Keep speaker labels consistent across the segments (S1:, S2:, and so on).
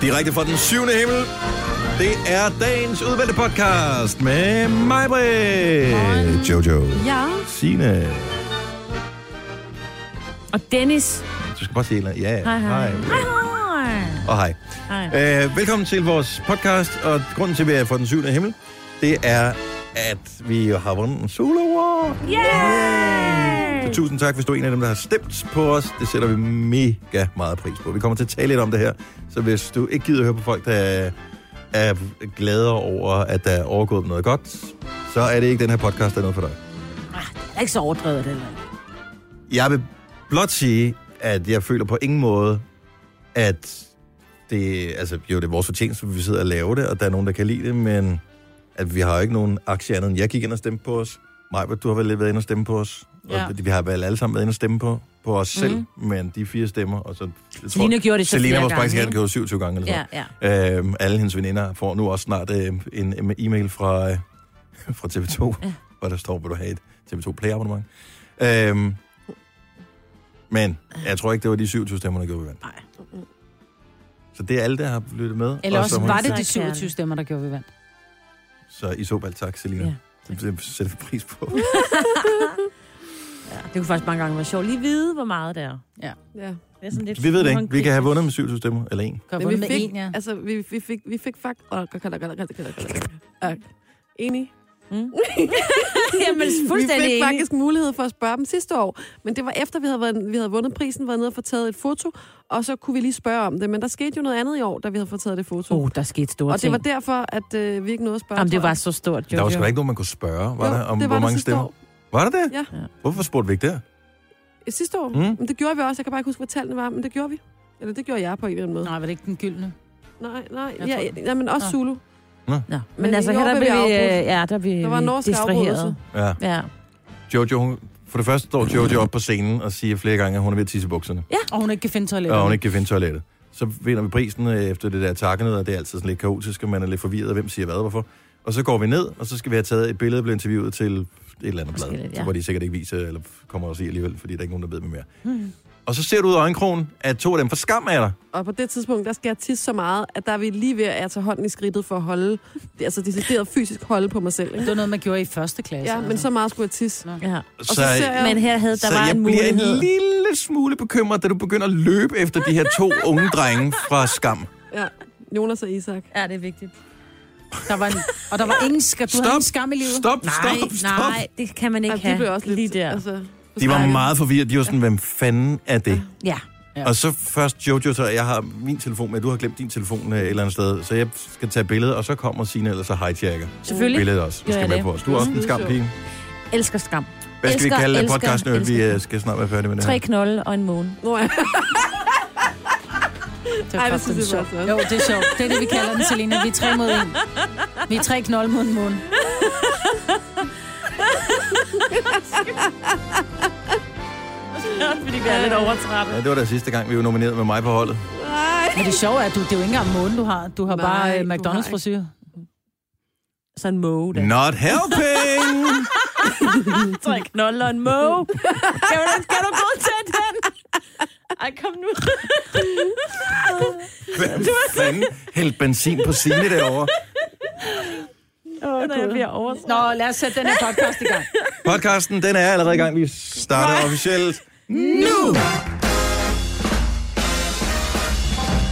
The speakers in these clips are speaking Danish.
S1: Direkte fra den syvende himmel. Det er dagens udvalgte podcast med mig, Britt, Jojo,
S2: Ja.
S1: Signe.
S2: Og Dennis.
S1: Du skal bare sige, et eller andet.
S2: Hej,
S1: ja,
S2: hej. Hej, hej.
S1: og hej.
S2: Hej.
S1: Øh, velkommen til vores podcast, og grunden til, at vi er fra den syvende himmel, det er, at vi har vundet en Solo Award.
S2: Yay!
S1: Så tusind tak, hvis du er en af dem, der har stemt på os. Det sætter vi mega meget pris på. Vi kommer til at tale lidt om det her, så hvis du ikke gider at høre på folk, der er- er glade over, at der er overgået noget godt, så er det ikke den her podcast, der er noget for dig.
S2: Ah, det er ikke så overdrevet, det heller ikke.
S1: Jeg vil blot sige, at jeg føler på ingen måde, at det, altså, jo, det er vores fortjeneste, at vi sidder og laver det, og der er nogen, der kan lide det, men at vi har jo ikke nogen aktie andet end jeg gik ind og stemte på os. Maja, du har vel lidt været inde og stemme på os.
S2: Ja. Mhm.
S1: Og vi har vel alle sammen været inde og stemme på, på os selv, men de fire stemmer, og så... jeg
S2: Selina gjorde det så
S1: Selina,
S2: flere
S1: vores
S2: gange,
S1: praktikant,
S2: ikke?
S1: gjorde 27 gange eller sådan.
S2: Ja, ja.
S1: Ja. Øhm, alle hendes veninder får nu også snart øh, en, en e-mail fra, øh, fra TV2, ja. hvor der står, vil du have et TV2 Play-abonnement? Øhm, men jeg tror ikke, det var de 27 stemmer, der gjorde vi vandt.
S2: Nej.
S1: Så det er alle, der har lyttet med.
S3: Eller
S1: og
S3: også
S1: som-
S3: var det
S2: Så
S3: de
S2: er
S3: 27
S2: kernen.
S3: stemmer, der gjorde vi vandt.
S1: Så i så fald tak, Selina.
S2: Ja,
S1: Det, det sætter vi pris på.
S2: Det kunne faktisk mange gange være sjovt lige at vide, hvor meget det er.
S4: Ja.
S2: Det er sådan lidt
S1: vi ved det ikke. Vi
S2: håndgribeligt.
S1: kan have vundet med 27 stemmer, eller en.
S3: Kan
S4: Men
S3: vi
S4: vi
S3: med
S4: fik,
S3: en, ja.
S4: altså, vi, vi fik, vi fik fakt... Og, kan, kan, kan, kan, kan, kan. Enig.
S2: Mm. Jamen, fuldstændig
S4: vi fik
S2: enig.
S4: faktisk mulighed for at spørge dem sidste år, men det var efter, vi havde, været, vi havde vundet prisen, været nede og fået taget et foto, og så kunne vi lige spørge om det. Men der skete jo noget andet i år, da vi havde fået taget det foto.
S3: Oh, der skete store
S4: og det
S3: ting.
S4: var derfor, at øh, vi ikke nåede at spørge.
S3: Jamen, det
S4: tror jeg.
S3: var så stort,
S1: Der
S3: Jojo.
S1: var sgu da ikke nogen, man kunne spørge, var
S4: Jo,
S1: der, om
S4: det var
S1: hvor
S4: der
S1: mange
S4: sidste
S1: stemmer?
S4: år.
S1: Var der det?
S4: Ja.
S3: Ja.
S1: Hvorfor spurgte vi ikke der?
S4: Øh, Sidste år.
S1: Mm.
S4: Mm. Men det gjorde vi også. Jeg kan bare ikke huske, hvad tallene var, men det gjorde vi. Eller det gjorde jeg på en eller anden måde.
S3: Nej, var det ikke den gyldne?
S4: Nej, nej.
S3: Jeg
S4: Ja,
S3: tror det.
S4: ja, men også
S3: Nå.
S4: Zulu.
S2: Nå, men
S4: Men
S2: altså,
S4: i
S2: her
S4: år
S2: der
S4: blev
S2: blev
S4: vi
S2: vi,
S4: afbrudt.
S2: øh, ja, der blev
S4: Der var en
S2: vi
S4: norsk
S2: distraheret.
S4: afbrydelse.
S1: Ja.
S2: Ja.
S1: Jojo, hun, for det første står Jojo op på scenen og siger flere gange, at hun er ved at tisse i bukserne.
S3: Og hun ikke kan finde toilettet.
S1: og hun ikke kan finde toilettet. Så vinder vi prisen øh, efter det der takkenede, og det er altid sådan lidt kaotisk, og man er lidt forvirret, hvem siger hvad og hvorfor. Og så går vi ned, og så skal vi have taget et billede og blive interviewet til et eller andet blad,
S2: Forskelligt,
S1: ja.
S2: ja.
S1: hvor de sikkert ikke viser, eller kommer og siger alligevel, fordi der er ikke nogen, der ved med mere.
S3: Mm.
S2: Hmm.
S1: Og så ser du ud af øjenkrogen, at to af dem for skam af dig.
S4: Og på det tidspunkt, der skal jeg tisse så meget, at der er vi lige ved at tage hånden i skridtet for at holde, altså decideret fysisk holde på mig selv.
S3: Det
S4: Ikke?
S3: var noget, man gjorde i første klasse. altså.
S4: Ja, men så meget skulle jeg tisse.
S2: Ja.
S1: Og
S4: så ser jeg-
S2: Men her havde
S1: så
S2: der var
S1: jeg
S2: en
S1: bliver en
S2: mulighed.
S1: lille smule bekymret, da du begynder at løbe efter de her to unge drenge fra skam.
S4: Ja. Jonas og Isak.
S2: Ja, det er vigtigt.
S3: Der var en, og der var ingen, ska, du
S1: Stop.
S3: havde ingen skam i livet.
S1: Stop,
S2: Nej,
S1: stop, stop.
S2: nej, det kan man ikke
S4: Ej,
S2: have.
S4: de blev også lidt,
S2: lige der.
S4: Altså,
S1: De var
S4: forskrækket.
S1: meget forvirret. De var sådan, hvem fanden er det?
S2: Ja.
S3: Ja.
S1: Og så først Jojo, så jeg har min telefon med, du har glemt din telefon øh, et eller andet sted, så jeg skal tage billedet, og så kommer Signe, eller så hijacker
S2: Selvfølgelig.
S1: billedet også.
S2: Gør
S1: Vi skal
S2: jeg
S1: med
S2: det.
S1: på os. Du er også en skam pige.
S2: Elsker skam.
S1: Hvad skal vi
S2: Elsker,
S1: kalde
S2: elsker,
S1: podcasten? nu? Vi
S2: elsker.
S1: øh, skal snart være færdige med det
S2: Tre
S1: her.
S2: knolde og en måne.
S4: Nå, ja.
S3: Det var
S4: Ej, det
S3: kraftigt
S4: synes jeg var
S3: sjovt.
S4: flot.
S3: Jo, det er sjovt. Det er det, vi kalder den, Selina. Vi er tre mod en. Vi er tre knold mod en mund.
S2: Fordi vi er lidt overtrætte.
S1: Ja, det var da sidste gang, vi var nomineret med mig på holdet.
S4: Nej.
S3: Men det sjove er, at du, det er jo ikke engang månen, du har. Du har
S4: Nej,
S3: bare
S4: du
S3: øh,
S4: har
S3: McDonald's frisyr.
S2: Så en måge, der.
S1: Not helping!
S2: Tre knolde og en måge. Kan du, kan du gå til den? Ej, kom nu.
S1: Hvem fanden hældte benzin på Signe derovre?
S2: Åh, Når jeg bliver overtræt.
S3: Nå, lad os sætte den her podcast i gang.
S1: Podcasten, den er allerede i gang. Vi starter officielt nu!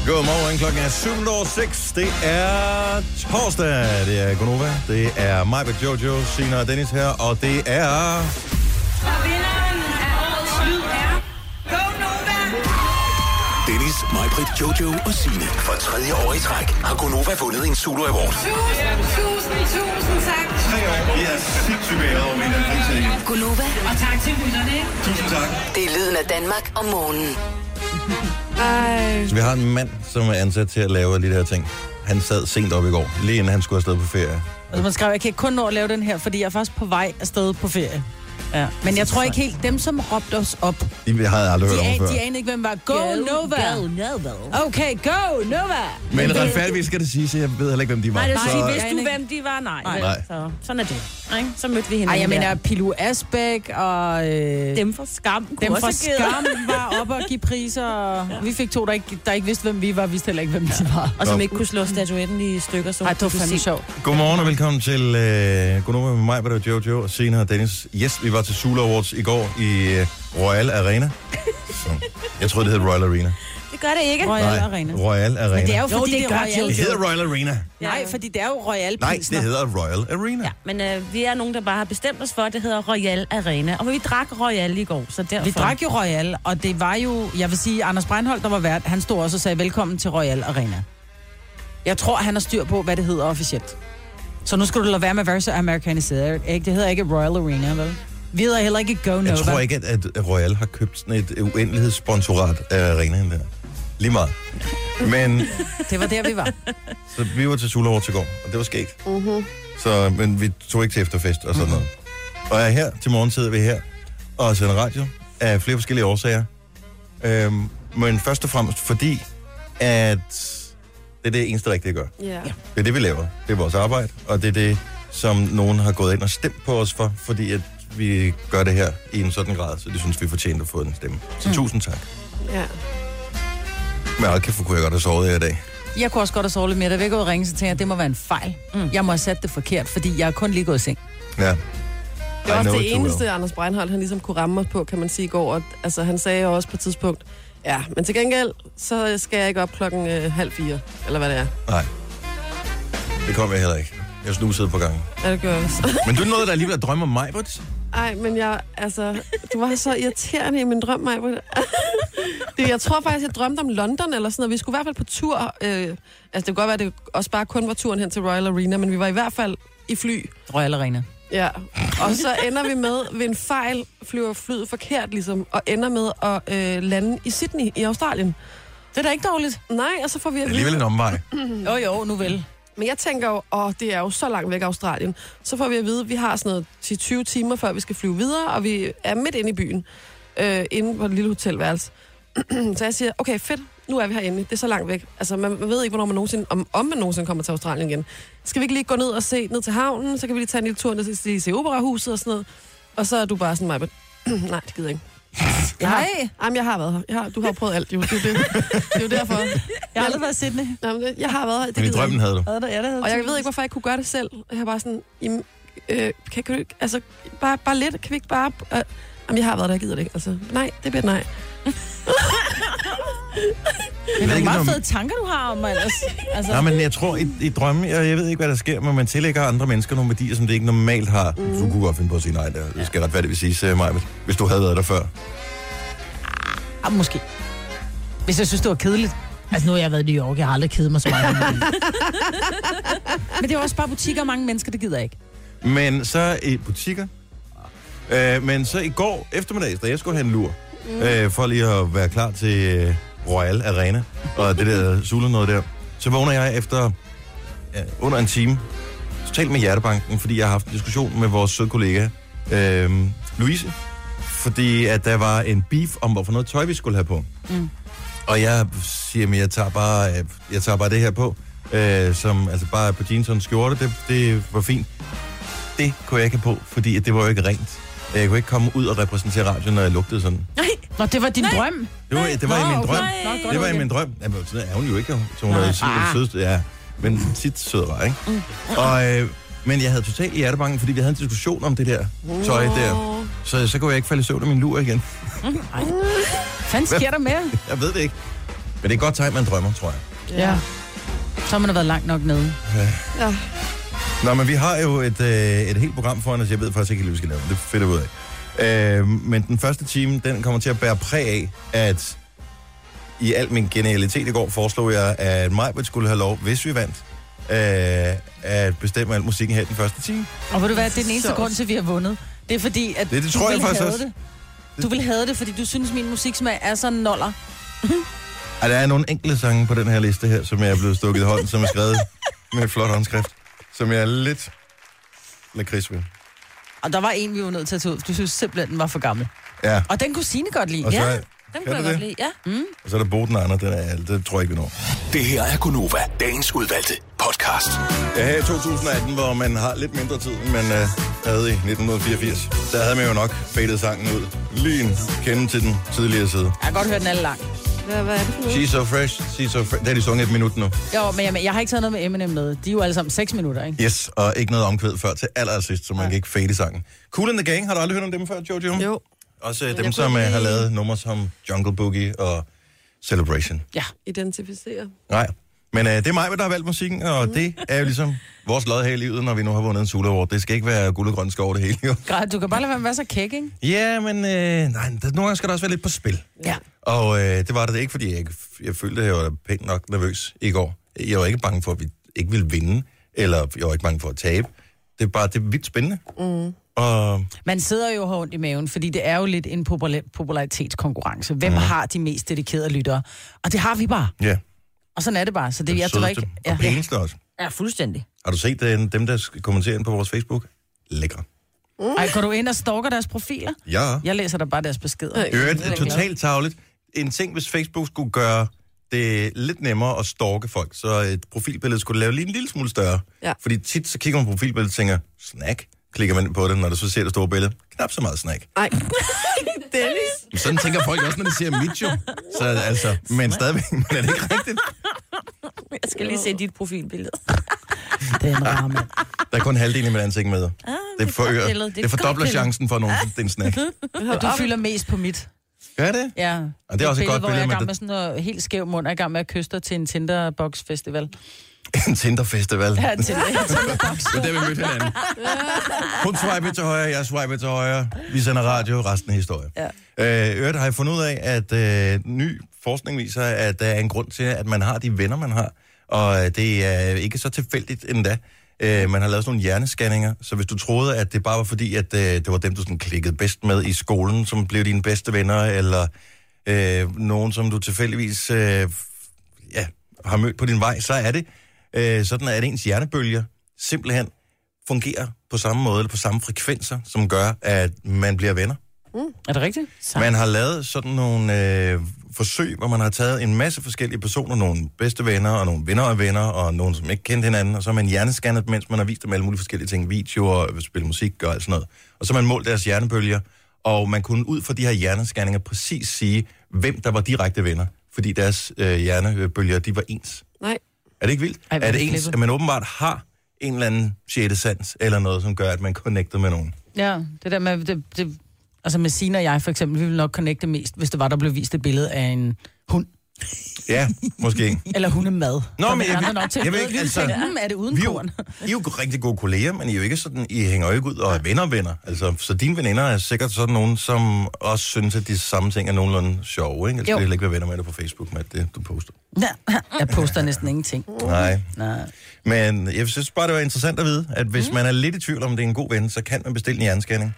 S1: Godmorgen, klokken er 7.06. Det er torsdag. Det er Gunova. Det er mig, Jojo, Sina og Dennis her. Og det er...
S5: Og vinderen af årets lyd er... Go Nova!
S6: Dennis, Majbrit, Jojo og Sine. For tredje år i træk har Gonova vundet en Zulu Award.
S5: Tusind, tusind, tusind tak.
S6: Vi er sindssygt ærede over min prisen.
S7: Gunova,
S5: Og tak til lytterne.
S6: Tusind tak.
S7: det er lyden af Danmark om morgenen.
S4: Ej.
S1: Så vi har en mand, som er ansat til at lave alle de her ting. Han sad sent op i går, lige inden han skulle afsted på ferie.
S3: Altså, man skrev, jeg kan kun nå at lave den her, fordi jeg er faktisk på vej afsted på ferie. Ja. Men jeg tror ikke helt, dem som råbte os op, de,
S1: De havde jeg aldrig hørt om
S3: an,
S1: før.
S3: de anede ikke, hvem var. Go, Nova! Okay, go, Nova!
S1: Men retfærdigvis skal det siges, at jeg ved heller ikke, hvem de var.
S2: Nej, det vil
S3: Nej,
S2: sige,
S1: så,
S3: vi
S2: vidste
S3: jeg
S2: du,
S3: ikke.
S2: hvem de var? Nej.
S3: Nej.
S2: vel?
S1: Nej.
S2: Så, sådan er det. ikke? Så mødte vi hinanden
S3: Ej, jeg
S2: der.
S3: mener Pilu Asbæk og... Øh,
S2: Dem fra skam. kunne
S3: dem
S2: også
S3: fra
S2: have givet-
S3: Skam var var oppe og give priser, og ja. vi fik to, der ikke, der ikke vidste, hvem vi var, vidste heller ikke, hvem de var.
S8: Og som
S1: Nå.
S8: ikke kunne slå statuetten i stykker, så
S3: Ej, det var fandme sjovt.
S1: Godmorgen og velkommen til øh, Godnova med mig, Britta og Jojo og senere Dennis. Yes, vi var til Sula Awards i går i øh, Royal Arena. Så, jeg troede, det hed Royal Arena.
S8: Det gør det ikke.
S3: Royal Arena.
S1: Royal Arena.
S3: Men det er jo,
S8: Jo,
S3: fordi
S8: det
S3: det, det
S8: gør
S3: er
S1: det
S3: Royal.
S1: hedder Royal Arena.
S3: Nej, fordi det er jo Royal
S1: Nej,
S3: Pilsner.
S1: det hedder Royal Arena. Ja.
S8: Men øh, vi er nogen, der bare har bestemt os for, at det hedder Royal Arena. Og vi drak Royal i går, så derfor...
S3: Vi drak jo Royal, og det var jo, jeg vil sige, Anders Breinholt, der var vært, han stod også og sagde, velkommen til Royal Arena. Jeg tror, han har styr på, hvad det hedder officielt. Så nu skal du lade være med at være så amerikaniseret, ikke? Det hedder ikke Royal Arena, vel? Vi hedder heller ikke Go Nova.
S1: Jeg tror ikke, at, at Royal har købt sådan et uendelighedssponsorat af arenaen der. Lige meget. Men
S3: Det var der, vi var.
S1: så vi var til Sula Awards i går, og det var skægt.
S4: Mm-hmm.
S1: Så, men vi tog ikke til efterfest og sådan noget.
S4: Mm-hmm.
S1: Og jeg er her, til morgen sidder vi her og sender radio af flere forskellige årsager. Øhm, men først og fremmest fordi, at det er det eneste rigtige, jeg gør.
S4: Ja. ja.
S1: Det er det, vi laver. Det er vores arbejde, og det er det, som nogen har gået ind og stemt på os for, fordi at vi gør det her i en sådan grad, så de synes, vi fortjener at få en stemme. Så mm. tusind tak.
S4: ja.
S1: Men jeg kan kunne jeg godt have sovet her i dag.
S3: Jeg kunne også godt have sovet lidt mere. Da jeg gået og ringe, så tænkte jeg, det må være en fejl. Mm. Jeg må have sat det forkert, fordi jeg er kun lige gået i seng.
S1: Ja.
S4: Det var
S1: I
S4: også
S1: know
S4: det
S1: it too
S4: eneste,
S1: well.
S4: Anders Breinholt, han ligesom kunne ramme mig på, kan man sige, i går. Og, altså, han sagde jo også på et tidspunkt, ja, men til gengæld, så skal jeg ikke op klokken øh, halv fire, eller hvad det er.
S1: Nej. Det kom jeg heller ikke. Jeg snusede på gangen.
S4: Ja, det gjorde jeg også.
S1: Men du er noget, der alligevel er drømme om mig, Brits.
S4: Ej, men jeg, altså, du var så irriterende i min drøm, Maja. det, jeg tror faktisk, jeg drømte om London eller sådan noget. Vi skulle i hvert fald på tur. Øh, altså, det kunne godt være, at det også bare kun var turen hen til Royal Arena, men vi var i hvert fald i fly.
S3: Royal Arena.
S4: Ja. Og så ender vi med, ved en fejl, flyver flyet forkert ligesom, og ender med at øh, lande i Sydney i Australien.
S3: Det er da ikke dårligt.
S4: Nej, og så får vi at vide,
S1: Alligevel en omvej.
S3: Jo, jo, nu vel.
S4: Men jeg tænker jo, åh, det er jo så langt væk Australien. Så får vi at vide, at vi har sådan noget 10-20 timer, før vi skal flyve videre, og vi er midt inde i byen, øh, inde på et lille hotelværelse. så jeg siger, okay, fedt, nu er vi herinde. Det er så langt væk. Altså, man, man ved ikke, hvornår man nogensinde, om, om man nogensinde kommer til Australien igen. Skal vi ikke lige gå ned og se ned til havnen? Så kan vi lige tage en lille tur ned til se operahuset og sådan noget. Og så er du bare sådan, mig, nej, det gider jeg ikke. Jeg har,
S3: Nej.
S4: jamen, jeg har været her. Jeg har, du har prøvet alt, jo. Det er jo, det. det er jo derfor.
S3: Jeg har aldrig været i Sydney.
S4: Jamen, det- jeg har været her. Det
S1: Men i
S4: gider jeg
S1: drømmen havde du.
S3: Havde der, ja, der havde
S4: og jeg ved ikke, hvorfor jeg ikke kunne gøre det selv. Jeg var bare sådan, jamen, øh, kan, kan du ikke, altså, bare, bare lidt, kan vi ikke bare... Øh, jamen, jeg har været der, jeg gider det ikke. Altså, nej, det bliver et nej.
S1: Jeg ved
S3: Det er
S1: ikke,
S3: meget
S1: om...
S3: fede tanker, du har om mig ellers. Altså,
S1: Nej, men jeg tror, i, i drømme, jeg, jeg ved ikke, hvad der sker, men man tillægger andre mennesker nogle værdier, som det ikke normalt har. Mm. Du kunne godt finde på at sige nej, der. det skal retfærdigvis siges, uh, Maja, hvis du havde været der før.
S3: ah, måske. Hvis jeg synes, det var kedeligt.
S8: Altså, nu har jeg været i New York. Jeg har aldrig kedet mig så meget.
S3: Men det er jo også bare butikker og mange mennesker, det gider jeg ikke.
S1: Men så i butikker. Øh, men så i går eftermiddags, da jeg skulle have en lur, mm. øh, for lige at være klar til øh, Royal Arena og det der Zulu noget der, så vågner jeg efter øh, under en time, totalt med hjertebanken, fordi jeg har haft en diskussion med vores søde kollega, øh, Louise, fordi at der var en beef om, hvorfor noget tøj vi skulle have på. Mm. Og jeg siger, at jeg tager bare, øh, jeg tager bare det her på, øh, som altså bare på jeans og en skjorte, det, det var fint det kunne jeg ikke have på, fordi at det var jo ikke rent. Jeg kunne ikke komme ud og repræsentere radioen, når jeg lugtede sådan.
S8: Nej,
S3: Nå, det var din Nej. drøm.
S1: Det var, det var i min drøm.
S8: nej.
S1: Det var i min drøm. Jamen, sådan er hun jo ikke. Så hun er jo sødeste. Ja, men tit sødere, ikke? Og, øh, men jeg havde totalt hjertebanken, fordi vi havde en diskussion om det der tøj der.
S4: Åh,
S1: Så, så kunne jeg ikke falde i søvn af min lur igen.
S3: Hvad sker der med?
S1: Jeg ved det ikke. Men det er et godt tegn, man drømmer, tror jeg.
S3: Ja. Så har man har været langt nok nede.
S1: Nå, men vi har jo et, øh, et helt program foran os. Jeg ved faktisk ikke, hvad vi skal lave. men Det finder vi ud af. Øh, men den første time, den kommer til at bære præg af, at i al min genialitet i går foreslog jeg, at Majbert skulle have lov, hvis vi vandt, øh, at bestemme al musikken her i den første time.
S3: Og ved du hvad, det er den eneste
S4: Sjovt.
S3: grund til, at vi har vundet. Det er fordi, at
S1: Det- det
S3: du
S1: tror jeg
S3: ville
S1: faktisk
S3: have
S1: også.
S3: det. Du vil have det, fordi du synes, min musiksmag er så noller.
S1: Og der er nogle enkelte sange på den her liste her, som jeg er blevet stukket i hånden, som er skrevet med et flot håndskrift, som jeg er lidt lakrids ved.
S3: Og der var en, vi var nødt til at tage ud, for du synes simpelthen, den var for gammel.
S1: Ja,
S3: Og den kunne Signe godt lide.
S1: og så,
S3: ja.
S1: ja,
S8: den
S1: kan
S8: kunne
S1: du
S8: jeg
S1: det?
S8: godt lide. Ja.
S1: Og så er der Boden Andre, den er, det tror jeg ikke, vi når.
S6: Det her er Gunova, dagens udvalgte podcast.
S1: Ja, her i 2018, hvor man har lidt mindre tid, men øh, havde i 1984, der havde man jo nok fadet sangen ud. Lige en kende til den tidligere side.
S3: Jeg har godt hørt den alle lang.
S4: Hvad, hvad er det for noget?
S1: She's so fresh, she's so fresh. Det har de sunget et minut nu.
S3: Jo, men jeg, jeg har ikke taget noget med Eminem med. De er jo alle sammen 6 minutter, ikke?
S1: Yes, og ikke noget omkvæd før til allersidst, så man kan ikke fade sangen. Cool and the Gang, har du aldrig hørt om dem før, Jojo?
S4: Jo.
S1: Også øh, dem, som øh, har lavet numre som Jungle Boogie og Celebration.
S3: Ja.
S4: Identificere.
S1: Nej. Men øh, det er mig, der har valgt musikken, og det er jo ligesom vores lod her i livet, når vi nu har vundet en Sula Award. Det skal ikke være guld og grøn skov det hele, jo.
S3: Grad, du kan bare lade være med at være så kæk, ikke?
S1: Ja, men øh, nej, der, nogle gange skal der også være lidt på spil.
S3: Ja.
S1: Og øh, det var det ikke, fordi jeg, jeg følte, at jeg var pænt nok nervøs i går. Jeg var ikke bange for, at vi ikke ville vinde, eller jeg var ikke bange for at tabe. Det er bare det er vildt spændende. Mm. Og
S3: Man sidder jo og har ondt i maven, fordi det er jo lidt en popula- popularitetskonkurrence. Hvem mm. har de mest dedikerede lyttere? Og det har vi bare.
S1: ja,
S3: Og sådan er det bare. Så det,
S1: den
S3: jeg tror ikke...
S1: og
S3: Ja.
S1: pæneste også.
S8: Ja, fuldstændig.
S1: Har du set den, dem, der sk- kommenterer ind på vores Facebook? Lækre.
S3: Ej, går du ind og stalker deres profiler?
S1: Ja.
S3: Jeg læser da bare deres beskeder.
S1: I Øvrigt, det er totalt tavligt. En ting, hvis Facebook skulle gøre det lidt nemmere at stalke folk, så et profilbillede skulle lave lige en lille smule større.
S4: Ja.
S1: Fordi tit så kigger man på profilbilledet og tænker, snack, klikker man ind på det, når du så ser det store billede. Knap så meget snack.
S4: Nej. Dennis.
S1: Men sådan tænker folk også, når de ser mit jo. Så altså, men stadigvæk, men er det ikke rigtigt?
S8: Jeg skal lige se dit profilbillede.
S3: Den ramme.
S1: Der er kun halvdelen af mit ansigt med. Ah, det, forøger,
S8: billede,
S1: det,
S8: det er
S1: det fordobler
S8: godt billede.
S1: chancen for, at nogen synes, det er en snack.
S3: Du fylder mest på mit.
S1: Gør det?
S3: Ja. Og
S1: det er også et godt
S3: hvor jeg er
S1: billede,
S3: i
S1: men
S3: gang
S1: det-
S3: med sådan noget helt skæv mund, og er i gang med at kysse dig til en Tinderbox festival.
S1: En Tinder-festival.
S3: Ja, til
S1: Det var der, vi mødte hinanden. Hun swiper til højre, jeg swiper til højre. Vi sender radio, resten er historie. Ja. Øh, øvrigt har jeg fundet ud af, at øh, ny forskning viser, at der er en grund til, at man har de venner, man har. Og øh, det er ikke så tilfældigt endda. Øh, man har lavet sådan nogle hjernescanninger, så hvis du troede, at det bare var fordi, at øh, det var dem, du sådan klikkede bedst med i skolen, som blev dine bedste venner, eller øh, nogen, som du tilfældigvis øh, ja, har mødt på din vej, så er det øh, sådan, at ens hjernebølger simpelthen fungerer på samme måde, eller på samme frekvenser, som gør, at man bliver venner.
S3: Er det rigtigt?
S1: Man har lavet sådan nogle øh, forsøg, hvor man har taget en masse forskellige personer, nogle bedste venner, og nogle venner af venner, og nogle, som ikke kendte hinanden, og så har man hjernescannet, mens man har vist dem alle mulige forskellige ting, videoer, øh, spille musik og alt sådan noget. Og så har man målt deres hjernebølger, og man kunne ud fra de her hjernescanninger præcis sige, hvem der var direkte venner, fordi deres øh, hjernebølger, de var ens.
S4: Nej.
S1: Er det ikke vildt?
S3: Ej,
S1: Ej,
S3: hvor
S1: er
S3: er
S1: det
S3: det
S1: ens,
S3: klippet.
S1: at man åbenbart har en eller anden sjette sans, eller noget, som gør, at man connecter med nogen.
S3: Ja, det der med... Det, det, altså med Sina og jeg for eksempel, vi ville nok connecte mest, hvis det var, der blev vist et billede af en hund.
S1: Ja, måske.
S3: Eller hundemad.
S1: Nå,
S3: Som
S1: men
S3: vi
S1: jeg
S3: andre
S1: vil-
S3: nok til
S1: jeg
S3: at
S1: vil
S3: vide.
S1: ikke,
S3: Vi vil
S1: altså-
S3: tænke, "Hmm, er det uden
S1: Vi er, jo,
S3: korn?
S1: I er jo rigtig gode kolleger, men I er jo ikke sådan, I hænger jo ikke ud og er venner venner. Altså, så dine veninder er sikkert sådan nogen, som også synes, at de samme ting er nogenlunde sjove, ikke? Altså,
S3: Jo.
S1: det heller ikke være venner med dig på Facebook med alt det, du poster.
S3: Ja, jeg poster næsten ingenting.
S1: Nej.
S3: Nej.
S1: Men jeg synes bare, det var interessant at vide, at hvis mm. man er lidt i tvivl om, det er en god ven, så kan man bestille en hjernescanning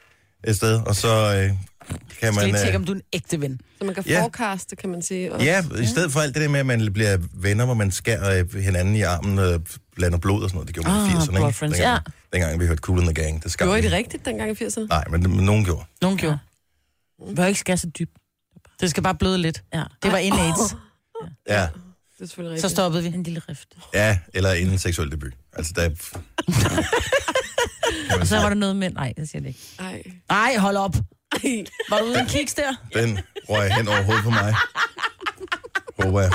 S1: et sted, og så øh, kan
S3: Skal
S1: man...
S3: lige tjekke,
S1: øh,
S3: om du er en ægte ven.
S4: Så man kan
S1: Ja.
S4: forecaste, kan man sige. Og
S1: Ja, i stedet for alt det der med, at man bliver venner, hvor man skærer øh, hinanden i armen og blander blod og sådan noget. Det gjorde man i
S8: Ah,
S1: 80'erne,
S8: blood
S1: ikke?
S8: friends,
S1: dengang,
S8: ja.
S1: dengang vi hørte Cool in the Gang. Det skabte
S4: Gjorde I
S1: vi.
S4: det rigtigt dengang i 80'erne?
S1: Nej, men, men nogen gjorde.
S3: Nogen gjorde.
S8: Hvor ikke skal så dybt.
S3: Det skal bare bløde lidt.
S8: Ja.
S3: Det var inden AIDS.
S1: Ja,
S4: Det er selvfølgelig
S3: Så
S4: rigtigt.
S3: stoppede vi.
S8: En lille rift.
S1: ja eller inden seksuel debut. Altså, der...
S8: Og så var der noget med... Nej, det siger det ikke.
S4: Ej.
S3: Nej, hold op. Var du ude en kiks der?
S1: Den røg hen over hovedet på mig. Håber jeg.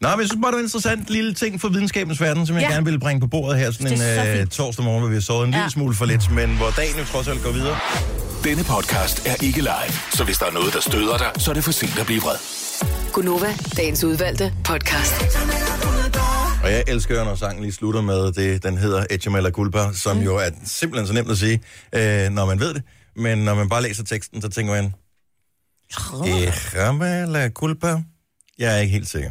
S1: Nå, men jeg synes bare, det var en interessant lille ting for videnskabens verden, som jeg ja. gerne ville bringe på bordet her sådan
S8: Det er så
S1: en øh,
S8: fint.
S1: torsdag morgen, hvor vi har sovet en ja. lille smule for lidt, men hvor dagen jo trods alt går videre.
S6: Denne podcast er ikke live, så hvis der er noget, der støder dig, så er det for sent at blive vred.
S7: Gunova, dagens udvalgte podcast.
S1: Og jeg elsker jo, når sangen lige slutter med det, den hedder Etchamala Culpa, som jo er simpelthen så nemt at sige, øh, når man ved det. Men når man bare læser teksten, så tænker man, Etchamala Culpa. Jeg er ikke helt sikker.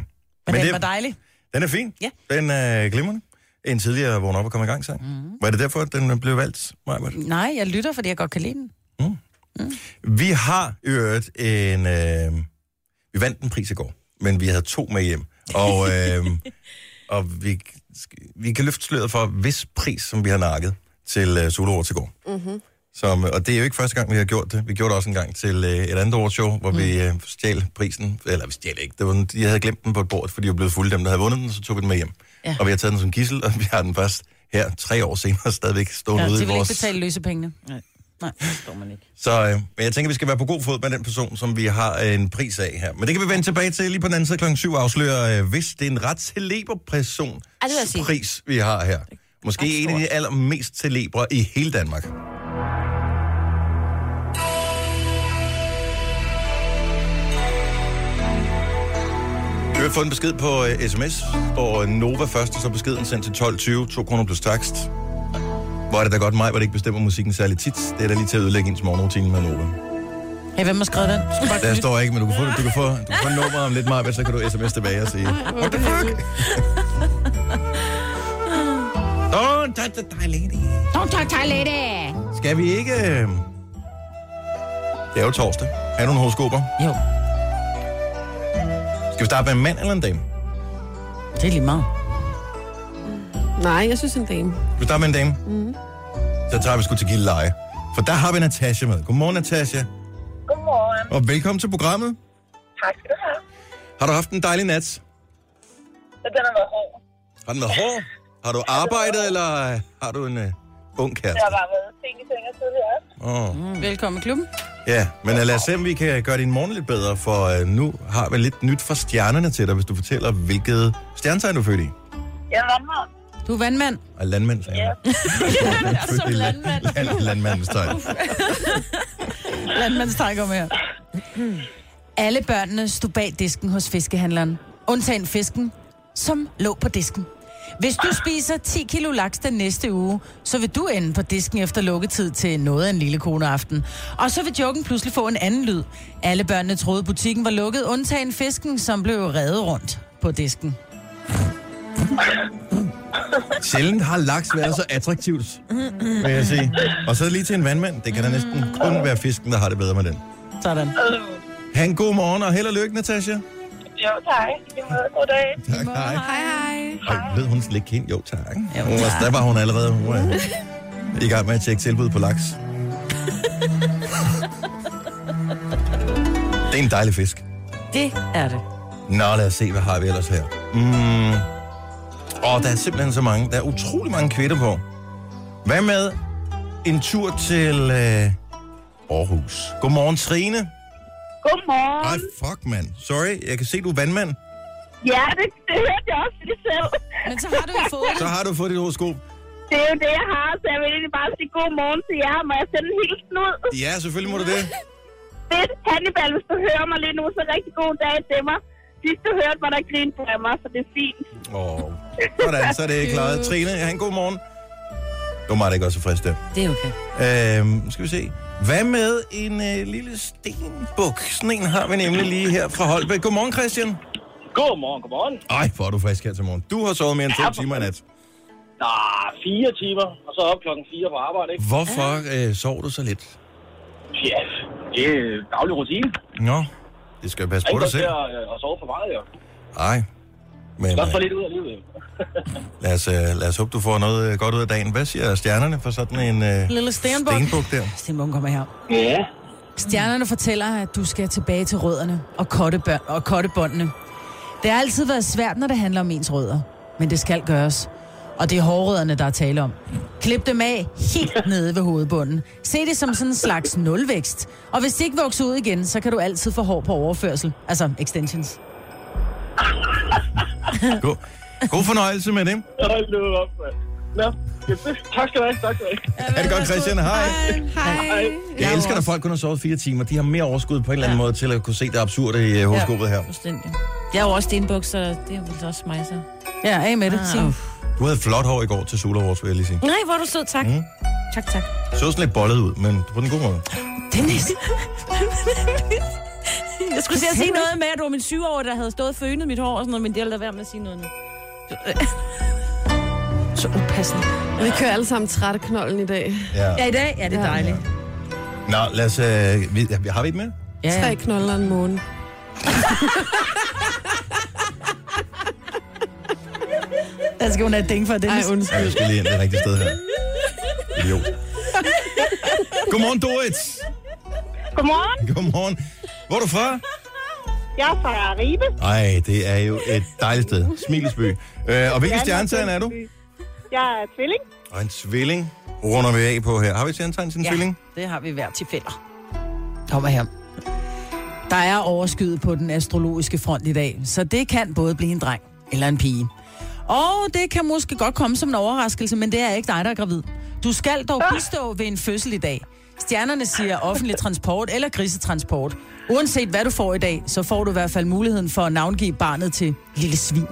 S1: Men
S3: Men, Men
S1: det-
S3: det var dejligt.
S1: Den er fin.
S3: Ja.
S1: Den er glimrende. En tidligere vågn op og kom i gang sang. Mm. Var det derfor, at den blev valgt, Majbert?
S3: Nej, jeg lytter, fordi jeg godt kan lide den.
S1: Vi har i øvrigt en... Øh, vi vandt en pris i går, men vi havde to med hjem. Og, øh, og vi, vi kan løfte sløret for, hvis pris, som vi har nakket til øh, Solo til går. Mm-hmm. Som, og det er jo ikke første gang, vi har gjort det. Vi gjorde det også en gang til øh, et andet års show, hvor mm. vi øh, stjal prisen. Eller vi stjal ikke. Det var, de havde glemt den på et bord, fordi de var blevet fulde, dem der havde vundet den, så tog vi den med hjem. Ja. Og vi har taget den som gissel, og vi har den først her tre år senere stadigvæk stående
S3: Ja,
S1: ude
S3: de
S1: i
S3: vil ikke
S1: vores...
S3: betale løsepengene.
S8: Står man ikke.
S1: Så øh, men jeg tænker, vi skal være på god fod med den person, som vi har øh, en pris af her. Men det kan vi vende tilbage til lige på den anden side klokken 7 afslører, øh, hvis det er en ret celeber person
S8: Ja, det vil jeg sige.
S1: pris, vi har her. Måske en af de allermest celebre i hele Danmark. Du har fået en besked på øh, sms, hvor Nova først, og så beskeden sendt til 12.20, 2 kroner plus takst. Hvor er det da godt mig, hvor det ikke bestemmer musikken særlig tit. Det er da lige til at ødelægge ens morgenrutine med Nova.
S3: Hey, hvem har skrevet den? Skal bare
S1: Der
S3: knytte-
S1: står ikke, men du kan få, du kan få, du kan få nummeret om lidt meget, men så kan du sms tilbage og sige, what the fuck? Don't touch the Thai lady.
S3: Don't talk Thai lady.
S1: Skal vi ikke... øh, Det er jo torsdag. Er du nogle horoskoper?
S3: Jo,
S1: Skal vi starte med en mand eller en dame?
S3: det er lige meget.
S4: Nej, jeg synes en dame.
S1: Skal vi starte med en dame? Mm. Så tager vi sgu til Gilleleje. For der har vi Natasha med. Godmorgen, Natasha.
S9: Godmorgen.
S1: Og velkommen til programmet.
S9: Tak skal du have.
S1: Har du haft en dejlig nat?
S9: Så den har været hård.
S1: Har den været hård? Har du arbejdet, eller øh, har du en uh, ung
S9: Det
S1: kæreste?
S9: har bare været ting i ting og tidligere også.
S1: Åh.
S3: Mm, Velkommen i klubben.
S1: Ja, men øh, lad os se, om vi kan gøre din morgen lidt bedre, for øh, nu har vi lidt nyt fra stjernerne til dig, hvis du fortæller, hvilket stjernetegn du er født i.
S9: Jeg rammer.
S3: Du er vandmand.
S1: Og landmænd, sagde jeg. Født i land- land- Landmandens tegn.
S3: Landmandstegn kommer her. Alle børnene stod bag disken hos fiskehandleren. Undtagen fisken, som lå på disken. Hvis du spiser 10 kilo laks den næste uge, så vil du ende på disken efter lukketid til noget af en lille kone aften. Og så vil joken pludselig få en anden lyd. Alle børnene troede, butikken var lukket, undtagen fisken, som blev reddet rundt på disken.
S1: Sjældent har laks været så attraktivt, vil jeg sige. Og så lige til en vandmand. Det kan da næsten kun være fisken, der har det bedre med den.
S3: Sådan.
S9: Øh,
S1: Ha' en god morgen, og held og lykke, Natasha.
S9: jo, tak. I måde. God dag.
S1: Tak, hej.
S4: Hej, hej.
S1: Og lød hun slik hende? Jo, tak. Jo, hun var, der var hun allerede. Hun var i gang med at tjekke tilbud på laks. Det er en dejlig fisk.
S8: Det er det.
S1: Nå, lad os se, hvad har vi ellers her? Mm. Åh, der er simpelthen så mange. Der er utrolig mange kvitter på. Hvad med en tur til øh, Aarhus? Godmorgen, Trine.
S9: Godmorgen.
S1: Ej, fuck, mand. Sorry, jeg kan se, du er vandmand.
S9: Ja, det, det hørte jeg også lige selv.
S3: Men så har du jo fået
S1: Så har du fået dit horoskop.
S9: Det er jo det, jeg har, så jeg vil egentlig bare sige god morgen til jer. Må jeg sende en hilsen ud?
S1: Ja, selvfølgelig må du det.
S9: Fedt. Hannibal, hvis du hører mig lige nu, så rigtig god dag til mig. Sidst du hørte mig, der grinte af mig, så det er fint.
S1: Åh, sådan, så er det klaret. Trine, have en god morgen. Det var mig, der ikke var så frisk der.
S8: Det er okay.
S1: Øhm, skal vi se. Hvad med en øh, lille stenbuk? Sådan en har vi nemlig lige her fra Holbæk. Godmorgen, Christian.
S10: Godmorgen, godmorgen.
S1: Ej, hvor er du frisk her til morgen. Du har sovet mere end to timer i nat.
S10: Nå, fire timer, og så op klokken fire på arbejde, ikke?
S1: Hvorfor øh, sov du så lidt?
S10: Ja, det er daglig rutine.
S1: Nå, det skal jo passe på
S10: Ikke
S1: dig
S10: også
S1: selv.
S10: til at, øh, at sove for meget, jo.
S1: Ej. Men
S10: Godt få
S1: øh,
S10: lidt ud af livet. jo.
S1: lad, os, øh, lad os håbe, du får noget øh, godt ud af dagen. Hvad siger stjernerne for sådan en øh,
S3: Lille Stenbuk.
S1: stenbuk der?
S3: Stenbuk kommer her.
S10: Ja.
S3: Stjernerne fortæller, at du skal tilbage til rødderne og, kottebør- og kottebåndene. Det har altid været svært, når det handler om ens rødder. Men det skal gøres. Og det er hårrødderne, der er tale om. Klip dem af helt nede ved hovedbunden. Se det som sådan en slags nulvækst. Og hvis det ikke vokser ud igen, så kan du altid få hår på overførsel. Altså extensions.
S1: God, god fornøjelse med det.
S10: Hold nu op, mand. Nå, ja, det- tak skal du have, tak skal du have.
S1: Er det godt, Christian? Hej.
S4: Hej.
S1: Jeg elsker, når folk kun har sovet fire timer. De har mere overskud på en eller anden måde til at kunne se det absurde i øh, horoskopet her.
S8: Fuldstændig. Jeg er jo også stenbukser, og det er vel også mig så.
S3: Ja, af med det. Ah,
S1: Du havde flot hår i går til Sula Awards, vil jeg lige sige.
S8: Nej, hvor er du sød, tak. Mm. Tak, tak.
S1: Du så sådan lidt bollet ud, men på den gode måde.
S3: Dennis.
S8: Jeg skulle til at sige noget med, at du var min syvårige, der havde stået og fønet mit hår og sådan noget, men det er da være med at sige noget nu.
S3: Så upassende.
S4: Vi kører alle sammen trætte knolden i dag.
S1: Ja.
S8: Ja, i dag er det
S4: Ja.
S8: dejligt.
S1: Nå, lad os... Øh, vi, har vi et med?
S3: Ja,
S4: Tre
S3: ja.
S4: knolder en måned.
S3: Der skal hun have et ding for,
S4: Ej,
S3: Dennis.
S1: Ja,
S4: undskyld.
S1: jeg skal lige ind det rigtige sted her. Idiot. Godmorgen, Dorit.
S9: Godmorgen.
S1: Godmorgen. Hvor er du fra?
S9: Jeg er fra Ribe.
S1: Ej, det er jo et dejligt sted. Smilesby. Øh, og hvilken
S9: Ja,
S1: stjernetegn er du?
S9: Smilesby. Jeg er tvilling.
S1: Og en tvilling runder vi af på her. Har vi Sjerntegn sin ja. tvilling?
S3: det har vi hver til fælder. Kom her. Der er overskyet på den astrologiske front i dag, så det kan både blive en dreng eller en pige. Og det kan måske godt komme som en overraskelse, men det er ikke dig, der er gravid. Du skal dog bistå ved en fødsel i dag. Stjernerne siger offentlig transport eller grisetransport. Uanset hvad du får i dag, så får du i hvert fald muligheden for at navngive barnet til lille svin.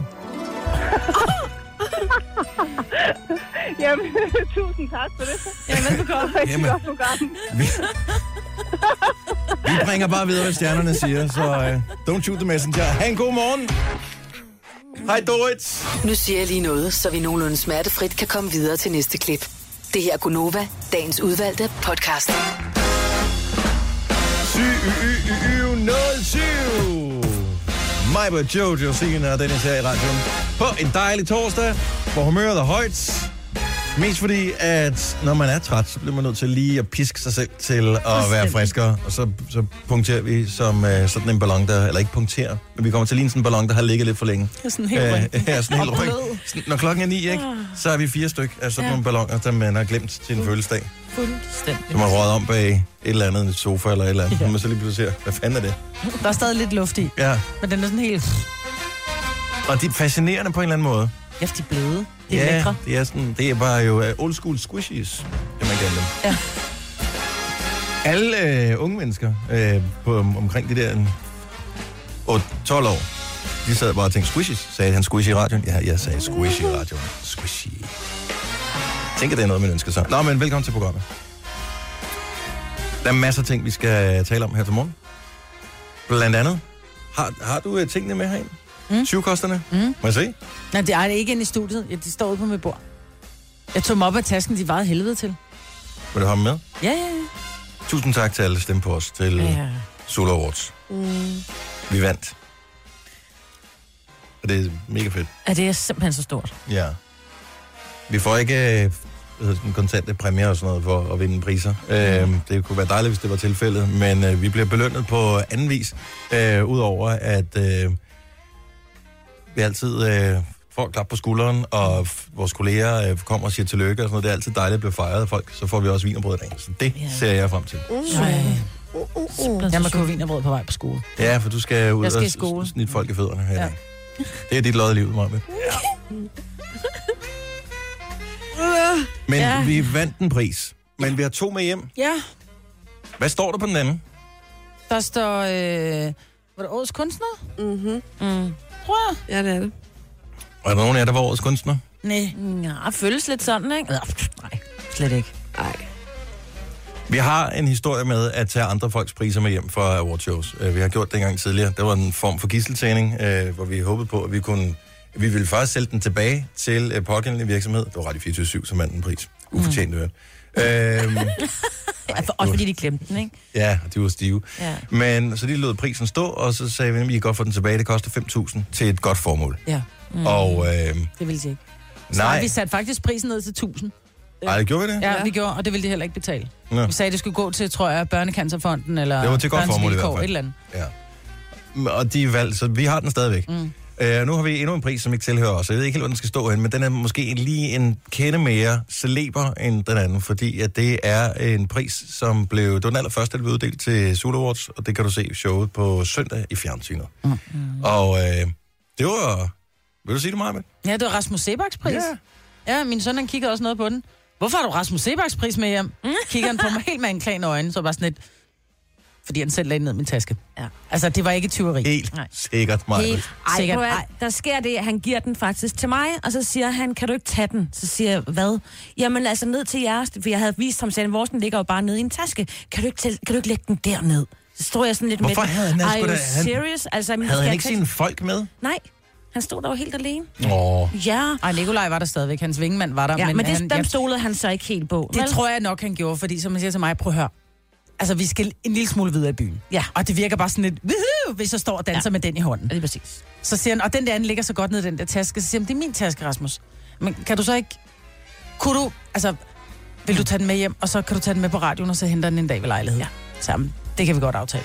S9: Jamen, tusind tak for det.
S8: Jamen, velbekomme.
S1: Jamen.
S9: Jamen. Godt program.
S1: Vi bringer bare videre, hvad stjernerne siger, så uh, don't shoot the messenger. Ha' en god morgen. Hej Dorit.
S7: Nu siger jeg lige noget, så vi nogenlunde smertefrit kan komme videre til næste klip. Det her er Gunova, dagens udvalgte podcast.
S1: 07. Mig på Jojo, Signe og Dennis her i radioen. På en dejlig torsdag, hvor humøret er højt. Mest fordi, at når man er træt, så bliver man nødt til lige at piske sig selv til at være friskere. Og så, så punkterer vi som øh, sådan en ballon, der... Eller ikke punkterer, men vi kommer til lige en sådan en ballon, der har ligget lidt for længe.
S3: Det er sådan helt
S1: Øh,
S3: rigtigt.
S1: ja, sådan helt
S3: Og
S1: ryg.
S3: blød.
S1: Sådan, Når klokken er ni, ikke, så er vi fire styk af sådan
S3: Ja.
S1: ja. nogle ballonger, der man har glemt til en fødselsdag.
S3: Fuldstændig.
S1: Som har røget om bag et eller andet en sofa eller et eller andet. Ja. Man så lige pludselig ser, hvad fanden er det?
S3: Der er stadig lidt luft i,
S1: Ja,
S3: men den er sådan helt...
S1: og de er fascinerende på en eller anden måde.
S3: Ja, de er bløde. De er
S1: ja,
S3: lækre.
S1: det er sådan, det er bare jo øh, old school squishies, kan man kalde dem.
S3: Ja.
S1: Alle øh, unge mennesker øh, på om- omkring de der en- 8-12 år, de sad bare og tænkte, squishies, sagde han squishy i radioen? Ja, jeg sagde squishy i radioen. Squishy. Tænker det er noget, man ønsker sig. Nå, men velkommen til programmet. Der er masser af ting, vi skal tale om her til morgen. Blandt andet, har, har du øh, tingene med herind? Mm. 20-kosterne?
S3: Mm.
S1: Må jeg se?
S3: Nej, det er det ikke inde i studiet. Ja, de står ude på mit bord. Jeg tog dem op af tasken, de vejede helvede til.
S1: Vil du have dem med?
S3: Ja, ja, ja.
S1: Tusind tak til alle stemme på os til ja. Solo Awards.
S4: Mm.
S1: Vi vandt. Og det er mega fedt.
S8: Ja, det er simpelthen så stort.
S1: Ja. Vi får ikke øh, hvad hedder sådan, kontante præmier og sådan noget for at vinde priser. Mm. Øh, det kunne være dejligt, hvis det var tilfældet, men øh, vi bliver belønnet på anden vis. Øh, Udover at øh, vi altid øh, får et klap på skulderen, og f- vores kolleger øh, kommer og siger tillykke og sådan noget. Det er altid dejligt at blive fejret af folk. Så får vi også vinerbrød i dag. Så det yeah. ser jeg frem til.
S3: Nej.
S4: Mm.
S3: Jeg må købe vinerbrød på vej på skole.
S1: Ja, for du skal ud
S3: Jeg skal i
S1: og s-
S3: skole.
S1: s- snitte folk i fødderne her.
S3: Ja.
S1: Ja. Det er dit lod i livet, Maja. Men
S8: Ja.
S1: ja. vi vandt en pris. Men vi har to med hjem.
S3: Ja,
S1: Hvad står der på den anden?
S3: der står... Øh, var det årets kunstner?
S4: Mm-hmm.
S8: Mm.
S3: Tror jeg.
S4: Ja, det er det.
S1: Og er der nogen af jer, der var årets kunstner?
S3: Nej,
S8: Ja, føles lidt sådan, ikke? Ja, pff, Nej, slet ikke.
S4: Ej.
S1: Vi har en historie med at tage andre folks priser med hjem fra awardshows. Øh, Vi har gjort det engang tidligere. Det var en form for gisseltagning, øh, hvor vi håbede på, at vi kunne... Vi ville først sælge den tilbage til øh, pågældende virksomhed. Det var Radio 24 som vandt en pris. Ufortjent, mm. øhm,
S8: Ja, for, også fordi de glemte den, ikke?
S1: ja, de var stive.
S8: Ja.
S1: Men så de lod prisen stå, og så sagde vi, at I kan godt få den tilbage. Det koster 5.000 til et godt formål.
S3: Ja.
S1: Mm. Og øh,
S3: det ville de ikke. Så har
S1: nej,
S3: vi sat faktisk prisen ned til 1000.
S1: Ej, gjorde vi det?
S3: Ja, vi gjorde, og det ville de heller ikke betale.
S1: Nå.
S3: Vi sagde, det skulle gå til, tror jeg, Børnecancerfonden eller
S1: Det var til godt
S3: Børns
S1: formål i hvert
S3: Vilkår,
S1: fald.
S3: et eller andet.
S1: Ja. Og de valgte, så vi har den stadigvæk. Mm. Øh, nu har vi endnu en pris, som ikke tilhører os. Jeg ved ikke helt, hvor den skal stå hen, men den er måske en- lige en kende mere celeber end den anden, fordi at det er en pris, som blev... Det var den allerførste, der blev uddelt til Zulu Awards, og det kan du se i showet på søndag i fjernsynet. Mm. Og øh, det var... Vil du sige det, Marvind?
S3: Ja, det var Rasmus Sebaks pris.
S1: Ja.
S3: Ja, min søn, han kiggede også noget på den. Hvorfor har du Rasmus Sebaks pris med hjem?
S8: Mm.
S3: Kigger han på mig helt med en klan øjne, så var jeg sådan lidt... Fordi han selv lagde den ned i min taske.
S8: Ja.
S3: Altså, det var ikke tyveri.
S1: Helt Nej.
S8: Nej.
S1: sikkert, Marvind.
S8: Helt ej,
S3: Sikkert.
S8: sikkert. Ej.
S3: Ej.
S8: Der sker det, at han giver den faktisk til mig, og så siger han, kan du ikke tage den? Så siger jeg, hvad? Jamen altså ned til jeres, for jeg havde vist ham, at vores den ligger jo bare nede i en taske. Kan du ikke, tæl- kan du ikke lægge den derned? Så stod jeg sådan lidt
S1: Hvorfor
S8: med den.
S1: havde han- han
S8: Are
S1: skulle
S8: you
S1: da- han-
S8: serious? Altså, men
S1: Havde
S8: skal
S1: han
S8: jeg
S1: ikke
S8: tage-
S1: sine folk med?
S8: Nej, han stod der jo helt alene.
S1: Åh,
S8: Ja,
S3: Ej, Nikolaj var der stadigvæk. Hans vingemand var der.
S8: ja men, men det,
S3: han,
S8: han, dem
S3: jeg,
S8: stolede han så ikke helt på.
S3: det
S8: vel?
S3: tror jeg nok, han gjorde, fordi som man siger til mig, prøv at høre. Altså, vi skal en lille smule videre i byen.
S8: Ja.
S3: Og det virker bare sådan lidt, "Woohoo!" hvis jeg står og danser ja.
S8: Ja.
S3: med den i hånden.
S8: Ja, det er præcis.
S3: Så siger han, og den der anden ligger så godt ned i den der taske. Så siger han, det er min taske, Rasmus. Men kan du så ikke... Kunne du... Altså, vil du tage den med hjem, og så kan du tage den med på radioen, og så henter den en dag ved lejlighed? Ja. Sammen. Det kan vi godt aftale.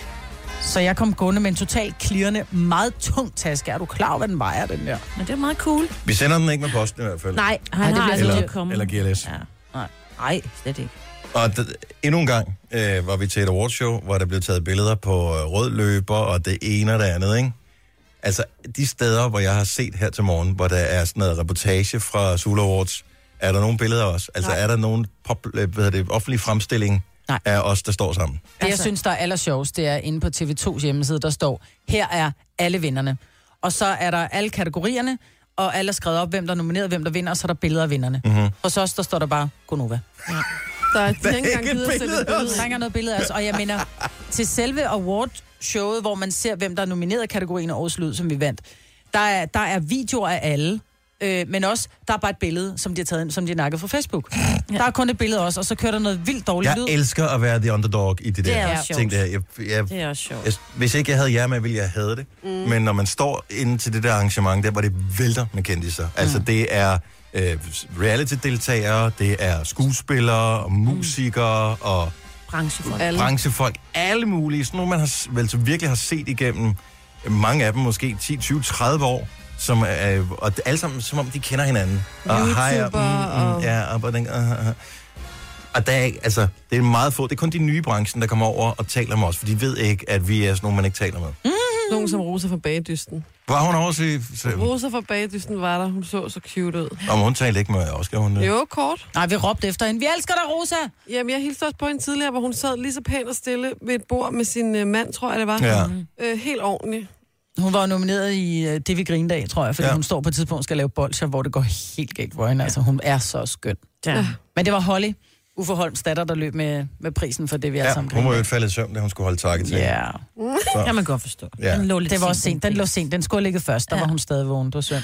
S3: Så jeg kom gående med en totalt klirrende, meget tung taske. Er du klar over, hvad den vejer, den der?
S8: Men det er meget cool.
S1: Vi sender den ikke med posten i hvert fald.
S8: Nej, han har aldrig noget at
S1: eller,
S8: komme.
S1: eller GLS. Ja.
S8: Nej, nej, slet ikke.
S1: Og d- endnu en gang øh, var vi til et awardshow, hvor der blev taget billeder på øh, rød løber og det ene og det andet, ikke? Altså, de steder, hvor jeg har set her til morgen, hvor der er sådan noget reportage fra Sula Awards, er der nogle billeder også? Altså, Nej. er der nogen pop, øh, hvad hedder det, offentlig fremstilling Nej. af os, der står sammen?
S3: Det,
S8: Altså-
S3: jeg synes, der er allersjovest, det er inde på TV2's hjemmeside, der står, her er alle vinderne. Og så er der alle kategorierne, og alle er skrevet op, hvem der er nomineret, hvem der vinder, og så er der billeder af vinderne.
S8: Mm.
S5: Mhm.
S3: Og så også, der står der bare, Gonova. Ja.
S4: Der er, de har ikke engang givet at sætte et billede.
S3: Der er ikke noget billede, altså. Og jeg mener, til selve award-showet, hvor man ser, hvem der er nomineret i kategorien af Årets Lyd, som vi vandt, der er, der er videoer af alle. Øh, men også, der er bare et billede, som de har taget ind, som de har nakket fra Facebook. Ja. Der er kun et billede også, og så kører der noget vildt dårligt
S1: Jeg
S3: lyd.
S1: elsker at være the underdog i det
S3: Det
S1: der
S3: er også
S1: ting
S3: sjovt.
S1: der. Jeg, jeg,
S3: Det er også sjovt.
S1: Jeg, hvis ikke jeg havde jer med, ville jeg have det. Mm. Men når man står inde til det der arrangement, der hvor det vælter med kendiser. Altså det er øh, reality-deltagere, det er skuespillere og musikere og
S8: Branchefolk.
S1: Alle. branchefolk. Alle mulige. Sådan nogle, man har, s- vel, så virkelig har set igennem øh, mange af dem, måske 10, 20, 30 år. Som, øh, og det- alle sammen, som om de kender hinanden.
S5: YouTuber
S1: og... mm,
S5: og-
S1: mm, Ja, og hvordan... Uh, uh, uh. Og der er, ikke- altså, det er meget få. Det er kun de nye i branchen, der kommer over og taler med os, for de ved ikke, at vi er sådan nogle, man ikke taler med.
S4: Nogen som Rosa fra Bagedysten.
S1: Var hun overse...
S4: Rosa fra Bagedysten var der. Hun så så cute ud.
S1: Om hun talte ikke med os, skal hun det?
S4: Jo, kort.
S3: Nej, vi råbte efter hende. Vi elsker dig, Rosa!
S4: Jamen, jeg hilste også på hende tidligere, hvor hun sad lige så pænt og stille ved et bord med sin øh, mand, tror jeg, det var.
S1: Ja.
S4: Øh, helt ordentligt.
S3: Hun var jo nomineret i øh, det, vi griner dag, tror jeg, fordi ja. hun står på et tidspunkt og skal lave bolcher, hvor det går helt galt for hende. Altså, hun er så skøn.
S8: Ja.
S3: Men det var Holly, Uffe Holms datter, der løb med, med prisen for det, vi alle
S1: Ja,
S3: sammen
S1: hun
S3: griner
S1: var jo
S3: af.
S1: ikke faldet i søvn, da hun skulle holde takke til.
S3: Ja.
S1: Så.
S8: Kan man godt forstå.
S1: Ja.
S8: Den lå lidt
S3: det var også
S8: sent,
S3: sent. Den lå sent. Den skulle ligge først. Der ja. var hun stadig vågen. Det var synd.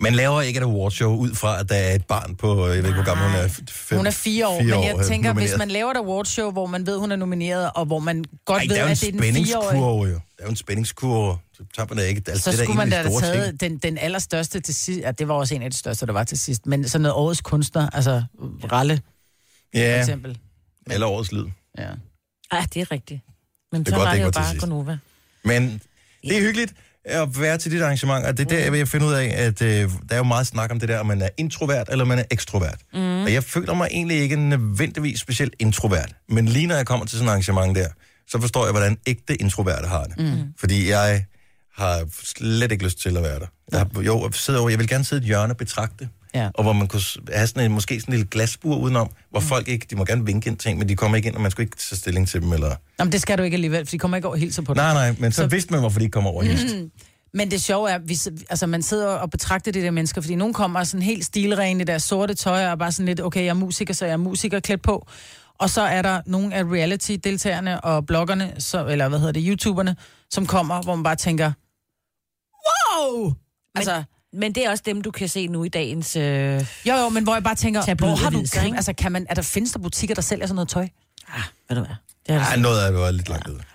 S1: Man laver ikke et awardshow ud fra, at der er et barn på, øh, jeg ved ikke, hvor gammel hun er. f- Fem,
S3: Hun er fire år, men jeg
S1: øh,
S3: tænker, hvis
S1: nomineret.
S3: man laver et awardshow, hvor man ved, hun er nomineret, og hvor man godt
S1: Ej,
S3: ved,
S1: der er jo en
S3: at det er den fireårige,
S1: spændingskurve, jo. Der er jo en spændingskurve. Så tager man da ikke. Altså,
S3: så
S1: det er
S3: skulle man
S1: en
S3: da
S1: af de
S3: have
S1: store
S3: taget den, den allerstørste til sidst. Ja, det var også en af de største, der var til sidst. Men sådan noget årets kunstner, altså Ralle, for
S1: Ja,
S3: eksempel.
S1: eller årets lyd.
S3: Ja.
S8: Ja, det er rigtigt. Men
S1: Det er
S8: så
S1: godt, det
S8: var det
S1: ikke
S8: jo
S1: var til
S8: bare
S1: sidst.
S8: Gonova.
S1: Men det er hyggeligt at være til dit arrangement, og det er der, jeg vil finde ud af, at øh, der er jo meget snak om det der, om man er introvert eller man er ekstrovert. Mm. Og jeg føler mig egentlig ikke nødvendigvis specielt introvert, men lige når jeg kommer til sådan et arrangement der, så forstår jeg, hvordan ægte introverte har det. Mm. Fordi jeg har slet ikke lyst til at være der. Jeg, har, jo, jeg sidder over, jeg vil gerne sidde i et hjørne og betragte,
S3: Ja.
S1: og hvor man kunne s- have sådan en, måske sådan en lille glasbur udenom, hvor mm. folk ikke, de må gerne vinke ind ting, men de kommer ikke ind, og man skulle ikke tage stilling til dem, eller...
S3: Jamen, det skal du ikke alligevel, for de kommer ikke over og hilser på dig.
S1: Nej, nej, men så, så... vidste man, hvorfor de ikke kommer over mm.
S3: Men det sjove er, vi, altså, man sidder og betragter de der mennesker, fordi nogen kommer sådan helt stilrene i deres sorte tøj, og er bare sådan lidt, okay, jeg er musiker, så jeg er musiker klædt på. Og så er der nogle af reality-deltagerne og bloggerne, så, eller hvad hedder det, youtuberne, som kommer, hvor man bare tænker, wow! Altså,
S8: Men det er også dem, du kan se nu i dagens... Øh...
S3: jo, jo, men hvor jeg bare tænker,
S8: Tabloidaviser,
S3: hvor har du
S8: ikke?
S3: købt? Altså, kan man, er der, findes der butikker, der sælger sådan noget tøj?
S8: Ved du hvad?
S3: Det
S1: Ej, noget af det var lidt langt ud.
S8: altså-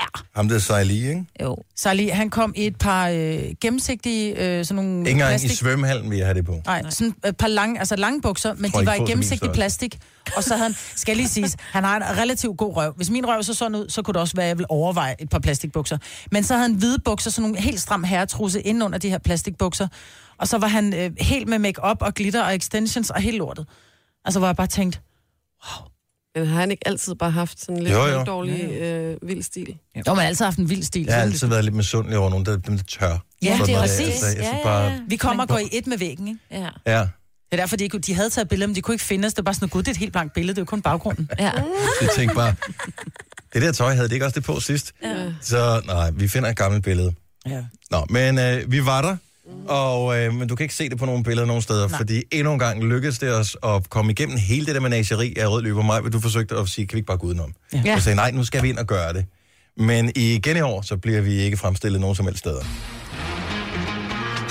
S8: Ja.
S1: Ham der Sejli, ikke?
S8: Jo.
S3: Så lige, han kom i et par øh, gennemsigtige, øh, sådan nogle
S1: Ikke engang i
S3: plastik-
S1: svømmehallen vil jeg have det på.
S3: Nej, sådan et par lange, altså lange bukser, men
S1: Tror
S3: de
S1: ikke på,
S3: var i
S1: at min
S3: gennemsigtig
S1: størrelse.
S3: plastik. Og så havde han, skal jeg lige sige, han har en relativt god røv. Hvis min røv så sådan ud, så kunne det også være, at jeg ville overveje et par plastikbukser. Men så havde han hvide bukser, sådan nogle helt stram herretrusse inden under de her plastikbukser. Og så var han øh, helt med makeup og glitter og extensions og helt lortet. Altså, hvor jeg bare tænkte,
S4: Men har han ikke altid bare haft sådan lidt
S1: Jo,
S4: jo,
S1: jo.
S4: jo. dårlig øh, vild stil?
S3: jo, man har altid altså haft en vild stil.
S1: Jeg har
S3: Sådan
S1: altid været lidt misundelig over nogen, der, dem, der tør.
S3: Ja,
S1: Sådan
S3: det er
S1: noget der.
S3: præcis.
S1: Altså, jeg synes
S8: Ja,
S1: bare,
S8: ja, ja.
S3: lidt- Vi kommer og går i et med væggen, ikke?
S8: Ja.
S1: ja.
S3: Det er derfor, de, ikke, de havde taget billeder, men de kunne ikke finde os. Det var bare sådan, gud, det er et helt blankt billede. Det er jo kun baggrunden.
S8: Ja.
S1: Jeg tænkte bare, det der tøj havde det ikke også det på sidst? Ja. Så nej, vi finder et gammelt billede.
S3: ja.
S1: Nå, men øh, vi var der, og, øh, men du kan ikke se det på nogle billeder nogen steder, nej. fordi endnu en gang lykkedes det os at komme igennem hele det der menageri af rød løber mig, vil du forsøgte at sige, kan vi ikke bare gå udenom?
S3: Ja.
S1: Jeg sagde, nej, nu skal vi ind og gøre det. Men igen i år, så bliver vi ikke fremstillet nogen som helst steder.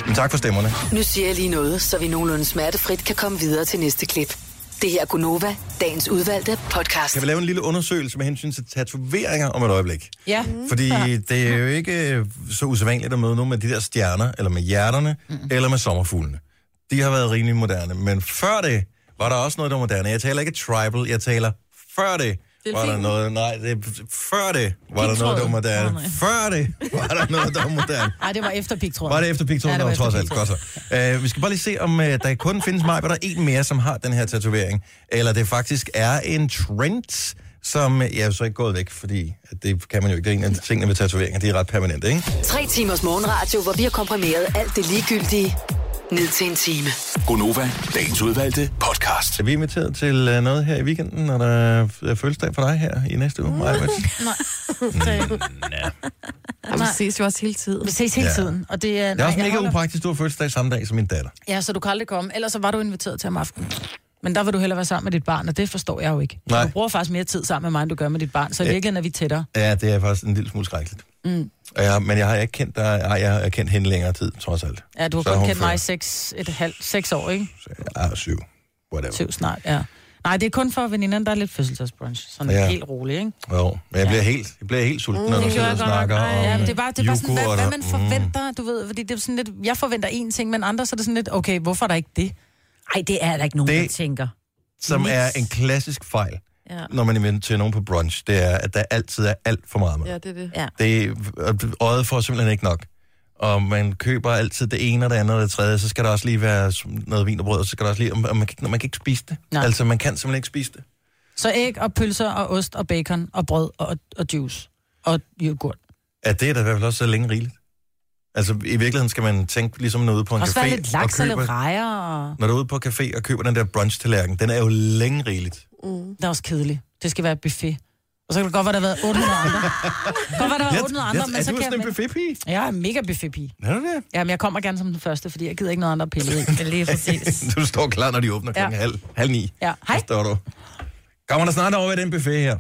S1: Men tak for stemmerne.
S7: Nu siger jeg lige noget, så vi nogenlunde smertefrit kan komme videre til næste klip. Det her er Gunova, dagens udvalgte podcast.
S1: Kan vi lave en lille undersøgelse med hensyn til tatoveringer om et øjeblik?
S3: Ja.
S1: Fordi det er jo ikke øh, så usædvanligt at møde nogen med de der stjerner, eller med hjerterne, mm. eller med sommerfuglene. De har været rimelig moderne. Men før det var der også noget, der var moderne. Jeg taler ikke tribal, jeg taler før det. var der noget, nej, det, før det var der noget, der var moderne. Før det var der noget, der var moderne.
S3: Nej, det var efter pigtråden.
S1: Var det efter pigtråden?
S3: Ja,
S1: Ja,
S3: det var
S1: var
S3: efter
S1: trods alt. Godt så. Øh, vi skal bare lige se, om øh, der kun findes mig, hvor der er en mere, som har den her tatovering. Eller det faktisk er en trend, som øh, jeg er så ikke gået væk, fordi at det kan man jo ikke. Det er en af de tingene ved tatoveringer, de er ret permanente, ikke?
S7: Tre timers morgenradio, hvor vi har komprimeret alt det ligegyldige ned til en time.
S1: Gonova, dagens udvalgte podcast. Er vi inviteret til øh, noget her i weekenden, når der er fødselsdag for dig her i næste
S3: Mm.
S1: uge? Maja?
S4: Jamen, vi ses jo også hele tiden.
S3: Vi ses hele
S1: Ja.
S3: tiden, og det er...
S1: Det er også
S3: jeg
S1: mega
S3: holder-
S1: upraktisk, du har fødselsdag samme dag som min datter.
S3: Ja, så du kan aldrig komme. Ellers så var du inviteret til om aftenen. Men der vil du hellere være sammen med dit barn, og det forstår jeg jo ikke.
S1: Nej.
S3: Du bruger faktisk mere tid sammen med mig, end du gør med dit barn, så i
S1: Ja.
S3: virkeligheden er vi tættere.
S1: Ja, det er faktisk en lille smule skrækkeligt.
S3: Mm.
S1: Og jeg, har- men jeg har ikke kendt, dig, ej, jeg har kendt hende længere tid, trods alt.
S3: Ja, du har
S1: Så er
S3: kun
S1: hun
S3: kendt mig i
S1: født.
S3: seks, et halvt, seks år, ikke?
S1: Ja, syv. Whatever.
S3: Syv snart, ja. Nej, det er kun for veninderne, der er lidt fødselsdagsbrunch. Sådan
S1: Ja.
S3: ja. helt roligt, ikke?
S1: Jo, men jeg bliver, helt, jeg bliver helt
S3: Mm,
S1: sulten, når du sidder og snakker om
S3: ja, men det er bare, det er bare sådan, hvad,
S1: yoghurt
S3: hvad
S1: og- mm.
S3: man forventer, du ved. Fordi det er sådan lidt, jeg forventer én ting, men andre så er det sådan lidt, okay, hvorfor er der ikke det?
S8: Nej, det er der ikke nogen,
S1: Det-
S8: det... der tænker.
S1: som er en klassisk fejl,
S8: Ja.
S1: når man inviterer nogen på brunch, det er, at der altid er alt for meget mad.
S4: Ja, det er det.
S8: Ja.
S1: Det er- øjet får simpelthen ikke nok. Og man køber altid det ene og det andet og det tredje, så skal der også lige være noget vin og brød, og så skal der også lige... Og man, kan, ikke- man kan ikke spise det.
S3: Nej.
S1: Nej. Altså, man kan simpelthen ikke spise det.
S3: Så æg og pølser og ost og bacon og brød og, og juice og yoghurt.
S1: Ja, det er da i hvert fald også så længe rigeligt. Altså, i virkeligheden skal man tænke ligesom noget ude på en
S3: Og så
S1: café...
S3: være lidt laks og lidt
S1: køber,
S3: rejer. Og...
S1: når du er ude på café og køber den der brunch-tallerken, den er jo længe rigeligt.
S3: Mm. Det er også kedeligt. Det skal være et buffet. Og så kan det godt være, der har været 800 andre. godt være, der var
S1: Jeg-
S3: 800
S1: jeg-
S3: andre,
S1: er
S3: men så
S1: du
S3: kan
S1: sådan en buffetpige?
S3: Jeg er en mega buffetpige.
S1: Er du det?
S3: Ja, men jeg kommer gerne som den første, fordi jeg gider ikke noget andet at pille i. Lige
S1: du står klar, når de åbner
S3: Ja.
S1: klokken halv, halv ni.
S3: Ja, hej.
S1: Der står du. Kommer der snart over ved den buffet her?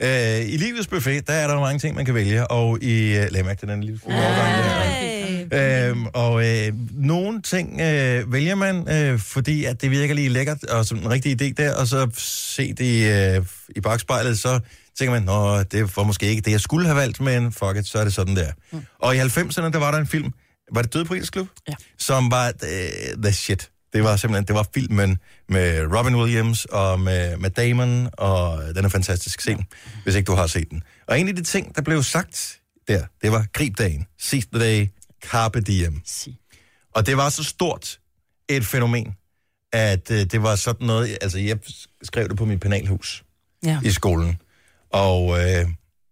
S1: Ja. Øh, I livets buffet, der er der jo mange ting, man kan vælge, og i... Øh, lad mærke til den lille fugle
S3: Ah.
S1: overgang der. Øhm, og øh, nogle ting øh, vælger man, øh, fordi at det virker lige lækkert, og som en rigtig idé der, og så se det i, øh, i bagspejlet, så tænker man, nå, det var måske ikke det, jeg skulle have valgt, men fuck it, så er det sådan der. Mm. Og i 90'erne, der var der en film, var det Døde på Klub? Ja. Som var uh, the shit. Det var simpelthen, det var filmen med Robin Williams og med, med Damon, og den er fantastisk scene, hvis ikke du har set den. Og en af de ting, der blev sagt der, det var grib dagen, seize the day, carpe diem. Og det var så stort et fænomen, at øh, det var sådan noget, altså jeg skrev det på mit penalhus
S3: Ja.
S1: i skolen, og øh,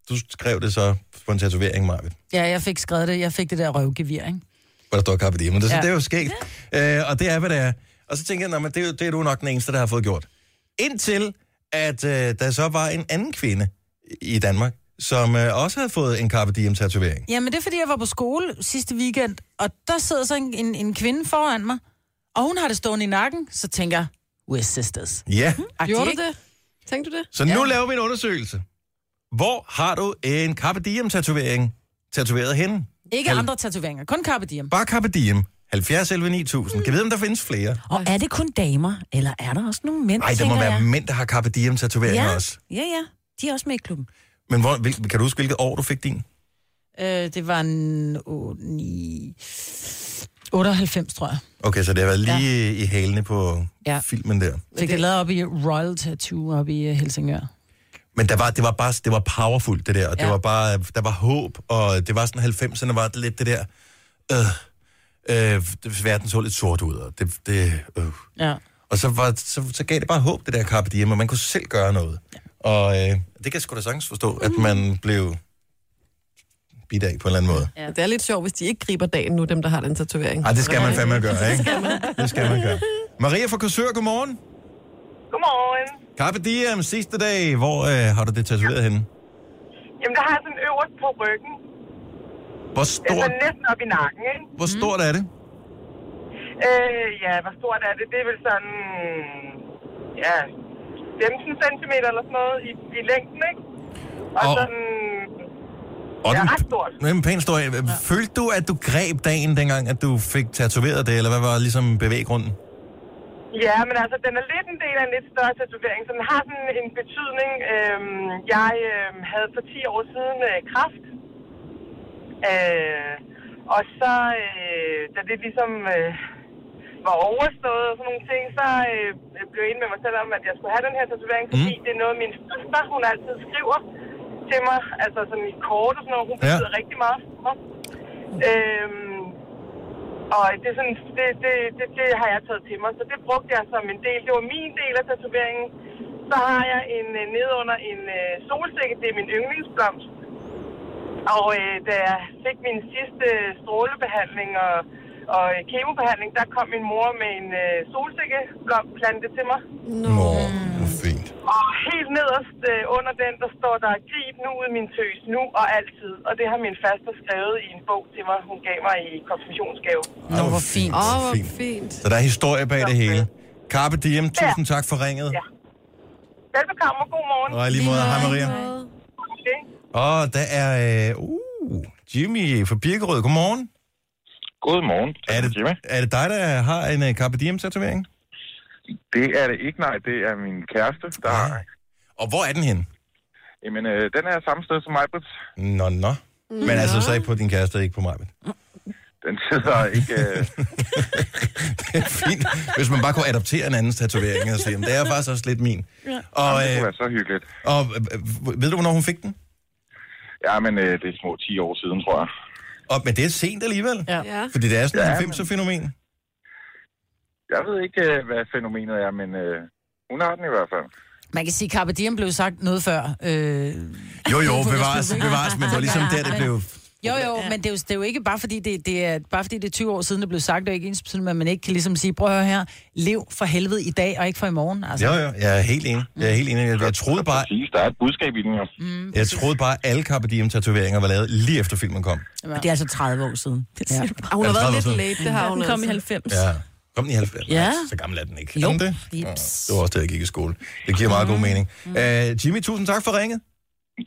S1: du skrev det så på en tatovering, Marvitt.
S3: ja, jeg fik skrevet det. Jeg fik det der røvgevir, ikke?
S1: hvor der står Carpe Diem. Men det, ja.
S3: Ja.
S1: det er jo skægt. Øh, og det er, hvad det er. Og så tænker jeg, "Nå, men det, er jo- det er du nok den eneste, der har fået gjort. Indtil, at øh, der så var en anden kvinde i Danmark, som øh, også havde fået en Carpe Diem-tatovering.
S3: Jamen, det er, fordi jeg var på skole sidste weekend, og der sidder så en, en, en kvinde foran mig, og hun har det stående i nakken, så tænker jeg, we're sisters.
S1: Ja.
S4: Gjorde du det? Tænkte du det?
S1: Så nu laver vi en undersøgelse. Hvor har du en Carpe Diem-tatovering tatoveret henne?
S3: Ikke
S1: Hal-
S3: andre tatoveringer, kun Carpe Diem.
S1: Bare Carpe Diem. 70 11 9000. Kan vi vide, om der findes flere?
S8: Og er det kun damer, eller er der også nogle mænd,
S1: Nej, der må
S8: tænker
S1: være
S8: jeg?
S1: mænd, der har Carpe Diem-tatoveringer
S8: ja.
S1: også.
S8: ja, ja. De er også med i klubben.
S1: Men hvor, hvil, kan du huske, hvilket år du fik din?
S3: Øh, det var en 8, 9, 98, tror jeg.
S1: Okay, så det har været lige ja. i hælene på
S3: Ja.
S1: ja. filmen der.
S3: Fik det lavet op i Royal Tattoo op i øh, Helsingør.
S1: Men der var, det var bare det var powerful, det der. Og ja.
S3: Ja.
S1: det var bare, der var håb, og det var sådan 90'erne, var det lidt det der, øh, øh, det- verden så lidt sort ud, og det, det øh.
S3: Ja.
S1: Og så, var, så, så gav det bare håb, det der Carpe Diem, og man kunne selv gøre noget. Ja. Mm. Og øh, det kan jeg sgu da sagtens forstå, at man blev bidt af på en eller anden måde.
S4: Ja. Det er lidt sjovt, hvis de ikke griber dagen nu, dem der har den tatovering.
S1: Ej, det skal man fandme gøre, ikke?
S4: skal man.
S1: Det skal man gøre. Maria fra Korsør, godmorgen.
S9: Godmorgen.
S1: Carpe Diem, sidste dag. Hvor øh, har du det tatoveret henne?
S9: Jamen, der har jeg sådan øverst på ryggen.
S1: Hvor
S9: Det er
S1: stort,
S9: sådan næsten op i nakken, ikke?
S1: hvor stort er det?
S9: Øh, ja, hvor stort er det? Det er vel sådan... Ja, 15 cm eller sådan noget i, i længden, ikke? Og,
S1: Og-
S9: sådan...
S1: Og
S9: ja,
S1: den-
S9: ret stort.
S1: Det er en pæn stor. Ja. Følte du, at du greb dagen, dengang at du fik tatoveret det, eller hvad var ligesom bevæggrunden?
S9: Ja, men altså, den er lidt en del af en lidt større tatovering, så den har sådan en betydning. Øhm, jeg øhm, havde for 10 år siden øh, kraft. Øh, og så, øh, da det ligesom... Øh, var overstået og sådan nogle ting, så øh, jeg blev jeg enig med mig selv om, at jeg skulle have den her tatovering, fordi det er noget, min søster, hun altid skriver til mig, altså sådan i kort og sådan noget, hun
S11: Ja.
S9: betyder rigtig meget for mig. Øhm, og det, er sådan, det, det, det, det, har jeg taget til mig, så det brugte jeg som en del. Det var min del af tatoveringen. Så har jeg en øh, nedunder en øh, solsikke, det er min yndlingsblomst. Og øh, da jeg fik min sidste strålebehandling og, og øh, kemobehandling, der kom min mor med en øh, solsikkeplante til mig.
S1: Nå, hvor
S9: fint. Og helt nederst øh, under den, der står der, grib nu ud min tøs, nu og altid. Og det har min faster skrevet i en bog til mig, hun gav mig i konfirmationsgave.
S1: Nå, hvor fint.
S4: Åh, oh, hvor fint.
S1: Så der er historie bag det hele. Carpe Diem, tusind tak for ringet.
S9: Velbekomme og god morgen.
S1: Og i lige måde. Hej, Maria. Og der er øh, uh, Jimmy fra Birkerød. Godmorgen.
S12: Godmorgen.
S1: Er det,
S12: Jimmy.
S1: er det dig, der har en uh, Carpe Diem-tatovering?
S12: Det er det ikke, nej. Det er min kæreste, der har...
S1: Og hvor er den henne?
S12: Jamen, øh, den er samme sted som mig,
S1: Nå, nå. Men altså så ikke på din kæreste, ikke på mig.
S12: Den sidder ikke... Øh...
S1: det er fint, hvis man bare kunne adoptere en andens tatovering og sige, "Jamen, det er faktisk også lidt min.
S12: Ja.
S1: Og,
S12: Jamen, det kunne
S1: øh,
S12: være så hyggeligt.
S1: Og øh, øh, ved du, hvornår hun fik den?
S12: Ja, men øh, det er små 10 år siden, tror jeg.
S1: Og, men det er sent alligevel.
S4: Ja.
S1: Fordi det er sådan
S12: Ja,
S1: ja, et 90'er fænomen.
S12: Jeg ved ikke, øh, hvad fænomenet er, men øh, hun har den i hvert fald.
S3: Man kan sige, at Carpe Diem blev sagt noget før. Øh,
S1: Jo, jo, bevares, bevares, men det var ligesom der, det blev...
S3: Jo, jo, men det er jo, det er jo ikke bare fordi det, det er, bare fordi det er 20 år siden, det blev sagt, det er jo ikke ens betydende, at man ikke kan ligesom sige, prøv at høre her, lev for helvede i dag, og ikke for i morgen. Altså.
S1: Jo, jo, jeg er helt enig. Jeg er helt enig. Jeg, jeg troede bare...
S12: Præcis, der er et budskab i den jo.
S1: Mm, jeg troede bare, at alle Carpe Diem-tatoveringer var lavet lige efter filmen kom.
S3: Ja. Det er altså 30 år siden. Det
S8: ja.
S4: Og Ah, hun har været
S1: 30
S4: lidt
S1: år siden.
S4: late, det har hun
S8: Den kom i
S4: altså.
S8: 90.
S1: Ja. Kom den i 90?
S8: Ja.
S1: Nej, så gammel er den ikke.
S8: Jo.
S1: Er den det?
S8: Jeps.
S1: Nå, det var også der, jeg gik i skole. Det giver meget god mening. Uh, Jimmy, tusind tak for ringet.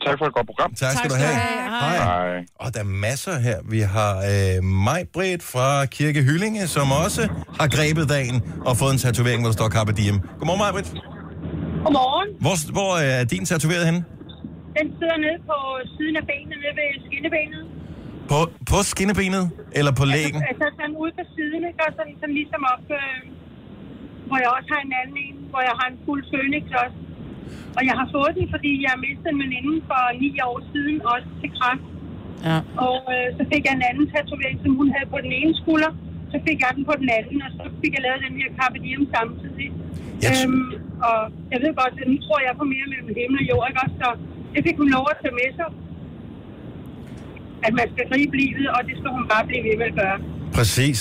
S12: Tak for et godt program.
S1: Tak skal du have. Hej.
S12: Hej.
S1: Og der er masser her. Vi har øh, Majbrit fra Kirke Hyllinge, som også har grebet dagen og fået en tatovering, hvor der står Carpe Diem. Godmorgen, Majbrit.
S13: Godmorgen.
S1: Hvor, hvor øh, er din tatoveret henne?
S13: Den sidder nede på siden af benene, nede ved skinnebenet.
S1: På, på skinnebenet eller på lægen?
S13: Altså sådan ude på siden, ikke? Og sådan, sådan ligesom op, øh, hvor jeg også har en anden en, hvor jeg har en fuld fønix også. Og jeg har fået den, fordi jeg mistede en veninde for ni år siden, også til kræft.
S3: Ja.
S13: Og øh, så fik jeg en anden tatovering, som hun havde på den ene skulder. Så fik jeg den på den anden, og så fik jeg lavet den her Carpe Diem samtidig.
S1: Yes.
S13: Øhm, og jeg ved godt, at nu tror jeg på mere mellem himmel og jord, ikke også? Så det fik hun lov at tage med sig. At man skal gribe livet, og det skal hun bare blive ved med at gøre.
S1: Præcis.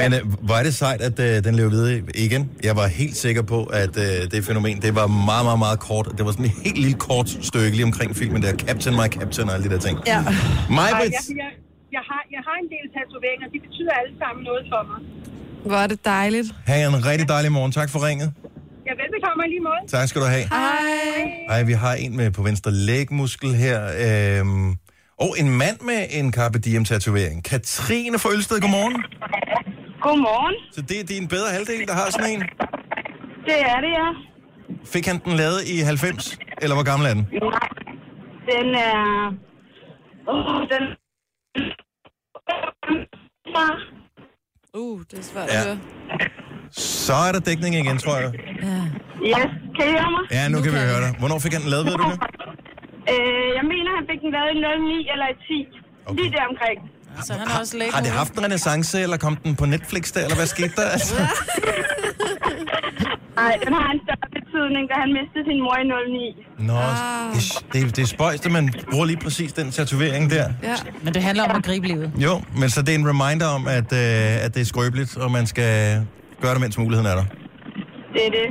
S1: Men øh, var det sejt, at øh, den løb videre igen? Jeg var helt sikker på, at øh, det fænomen, det var meget, meget, meget kort. Det var sådan et helt lille kort stykke lige omkring filmen der. Captain, my captain og alle de der ting.
S13: Ja.
S1: Majbrit,
S13: Jeg, jeg, jeg, har, jeg har en del tatoveringer, de betyder alle sammen noget for mig.
S1: Hvor er det dejligt. Ha' en rigtig dejlig morgen. Tak for ringet.
S13: Jeg velbekomme og i lige måde.
S1: Tak skal du have.
S13: Hej.
S1: Ej, vi har en med på venstre lægmuskel her. Øhm, og en mand med en Carpe Diem-tatovering. Katrine fra Ølsted, godmorgen.
S14: Godmorgen.
S1: Så det er din bedre halvdel, der har sådan en.
S14: Det er det, ja.
S1: Fik han den lavet i 90? Eller hvor gammel er den?
S14: Nej, den er... Åh, den...
S4: Uh, det er svært
S1: Ja.
S4: at høre.
S1: Så er der dækning igen, tror jeg.
S14: Ja, kan I høre mig?
S1: Ja, nu kan vi høre dig. Hvornår fik han den lavet, ved du det?
S14: Øh, jeg mener, han fik den lavet i 09 eller i 10. Okay. Lige der omkring.
S3: Så han er også lækker.
S1: Har det haft en renaissance, eller kom den på Netflix der, eller hvad skete der? Altså,
S14: Nej, den har en større betydning, da han mistede sin mor i 09.
S1: nå, det, det, det er spøjst, at man bruger lige præcis den tatovering der.
S4: Ja.
S3: Men det handler om at gribe livet.
S1: Jo, men så det er en reminder om, at, øh, at det er skrøbeligt, og man skal gøre det, mens muligheden er der.
S14: Det er det.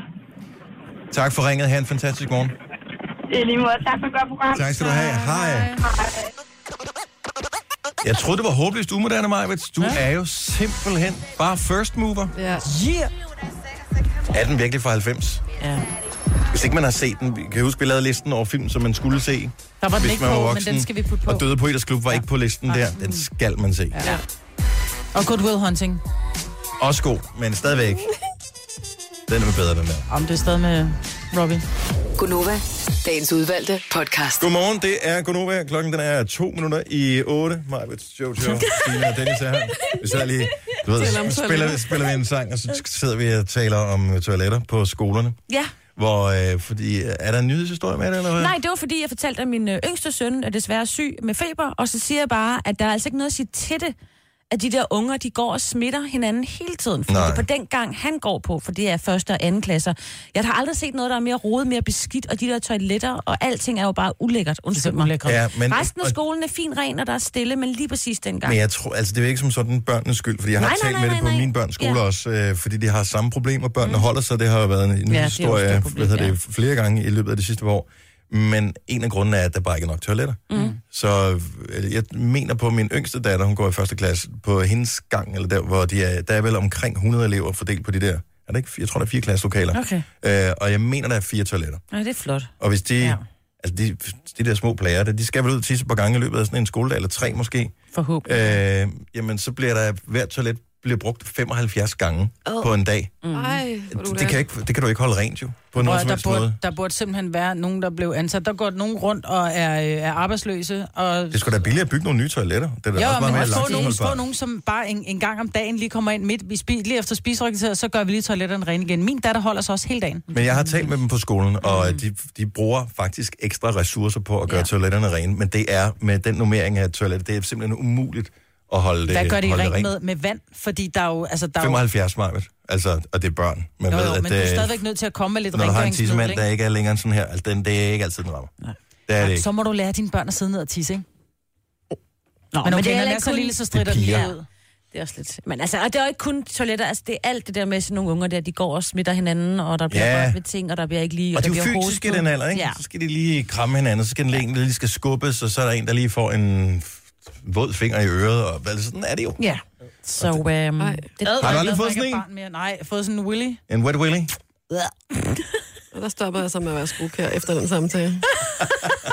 S1: Tak for ringet. Ha' en fantastisk morgen.
S14: Det er lige måde. Tak for et godt program.
S1: Tak skal du have. Hej. Jeg troede, det var håbløst umoderne, Majvits. Du er jo simpelthen bare first mover.
S4: Ja.
S3: Yeah.
S1: Er den virkelig fra 90?
S3: Ja.
S1: Hvis ikke man har set den, vi- kan jeg huske, vi lavede listen over film, som man skulle se.
S3: Der var den
S1: hvis
S3: ikke
S1: man
S3: på, men
S1: voksen.
S3: den skal vi putte på.
S1: Og Døde på Eders Klub var ikke på listen der. Den skal man se.
S3: Ja. Og Goodwill Hunting.
S1: Også god, men stadigvæk. Den er bedre, den der.
S3: Om det er stadig med Robbie.
S7: Gunova, dagens udvalgte podcast.
S1: Godmorgen, det er Gunova. Klokken den er to minutter i 8. Majbets, Jojo, Sina og Dennis er her. Vi sad lige, du ved,
S5: Taler om
S1: så spiller,
S5: toiletter.
S1: spiller vi en sang, og så sidder vi og taler om toiletter på skolerne.
S8: Ja.
S1: Hvor, øh, fordi, er der en nyhedshistorie med det, eller hvad?
S8: Nej, det var fordi, jeg fortalte, at min øh, yngste søn er desværre syg med feber, og så siger jeg bare, at der er altså ikke noget at sige til det, at de der unger, de går og smitter hinanden hele tiden. Fordi
S5: Nej.
S8: det er på den gang, han går på, for det er første og anden klasser. Jeg har aldrig set noget, der er mere rodet, mere beskidt, og de der toiletter og alting er jo bare ulækkert. Undskyld mig.
S1: Ja, men-
S8: Resten af
S1: og-
S8: skolen er fin ren, og der er stille, men lige præcis dengang.
S1: Men jeg tror, altså det er jo ikke som sådan børnenes skyld, fordi jeg har
S8: Nej,
S1: nej, talt
S8: nej, nej,
S1: med
S8: nej,
S1: det på
S8: nej.
S1: min børns skole
S8: Ja.
S1: ja. også, øh, fordi de har samme problemer. Børnene mm. holder sig, det har jo været en, en
S8: det er
S1: ja,
S8: jo et
S1: historie
S8: stort
S1: det
S8: problem,
S1: hvad hedder
S8: ja.
S1: det, flere gange i løbet af de sidste par år. Men en af grundene er, at der bare ikke er nok toiletter. Mm. Så øh, jeg mener på min yngste datter, hun går i første klasse, på hendes gang, eller der, hvor de er, der er vel omkring 100 elever fordelt på de der. Er der ikke, fire- jeg tror, der er fire klasselokaler.
S8: Okay.
S1: Øh, og jeg mener, der er fire toiletter.
S8: Nej, det er flot.
S1: Og hvis de, ja. altså de, de der små plager, der, de skal vel ud og tisse et par gange i løbet af sådan en skoledag, eller tre måske.
S8: Forhåbentlig.
S1: Øh, jamen, så bliver der, hvert toilet bliver brugt 75 gange
S3: Åh.
S1: oh. på en dag.
S3: Mm. Ej,
S1: Det, det, kan ikke, det kan du ikke holde rent jo, på nogen som
S3: der,
S1: helst
S3: burde,
S1: måde.
S3: der burde simpelthen være nogen, der blev ansat. Der går nogen rundt og er, øh, er arbejdsløse. Og...
S1: Det skulle da billigere at bygge nogle nye toiletter. Det er da også
S3: Jo,
S1: meget
S3: men
S1: mere
S3: at få nogen, få
S1: langtidsholdbart.
S3: nogen, som bare en, en gang om dagen lige kommer ind midt i spi, lige efter spiserekreteret, så gør vi lige toiletterne rene igen. Min datter holder sig også hele dagen.
S1: Men jeg har talt med dem på skolen, og
S3: Mm.
S1: de, de bruger faktisk ekstra ressourcer på at gøre ja. toiletterne rene. Men det er med den normering af toiletter, det er simpelthen umuligt at holde det,
S3: Hvad gør de
S1: holde det
S3: rent
S1: rent.
S3: med, med vand? Fordi der er jo... Altså, der er jo
S1: 75 Marvitt. Altså, og det er børn. Man
S3: jo,
S1: ved,
S3: jo,
S1: at,
S3: men du er
S1: øh,
S3: stadigvæk nødt til at komme med
S1: når
S3: lidt
S1: du har en
S3: rengøringsmiddel,
S1: tissemand,
S3: ikke?
S1: der ikke er længere end sådan her, altså, den, det er ikke altid den rammer. Nej. Det er det ikke.
S3: Så må du lære dine børn at sidde ned og tisse, ikke? Nå, men, okay,
S8: men det er
S3: det er
S8: heller
S3: ikke
S8: ikke
S3: så
S8: kun-
S3: lille, så
S8: Det er
S3: strider den lige
S8: piger.
S3: ud.
S8: Det er også lidt. Men altså, og det er jo ikke kun toiletter, altså det er alt det der med sådan nogle unger der, de går og smitter hinanden, og der bliver
S1: Ja.
S8: ja. rørt ved ting, og der bliver ikke lige...
S1: Og
S8: der
S1: de er
S8: bliver
S1: jo fysiske i
S8: hostet.
S1: den alder, ikke?
S8: Ja.
S1: Ja. Så skal de lige kramme hinanden, så skal den ene der lige skal skubbes, og så er der en, der lige får en f- våd finger i øret, og hvad, sådan er det jo.
S8: Ja. Så øhm,
S3: Ej.
S8: det,
S1: Har du aldrig fået sådan en?
S3: Mere. Nej, jeg har fået sådan en willy.
S1: En wet willy?
S4: Og der stoppede jeg så med at være skruekær efter den samtale.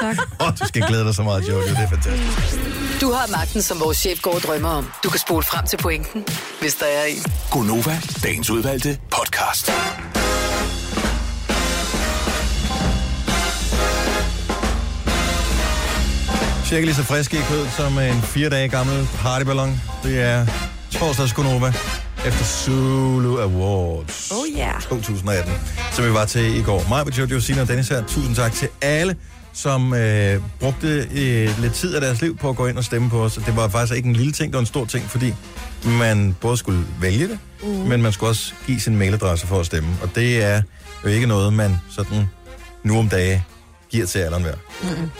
S1: Åh, oh, du skal glæde dig så meget, Jojo, det er fantastisk.
S7: Du har magten, som vores chef går og drømmer om. Du kan spole frem til pointen, hvis der er en.
S6: Gonova, dagens udvalgte podcast.
S1: Cirka lige så frisk i kødet som en fire dage gammel partyballon. Det er torsdags Gunova efter Zulu Awards.
S5: Oh yeah.
S1: 2018, som vi var til i går. Mig, Jojo, Sina og Dennis her. Tusind tak til alle, som øh, brugte øh, lidt tid af deres liv på at gå ind og stemme på os. Det var faktisk ikke en lille ting, det var en stor ting, fordi man både skulle vælge det, mm. men man skulle også give sin mailadresse for at stemme. Og det er jo ikke noget, man sådan nu om dage giver til alderen hver.
S5: Mm-mm.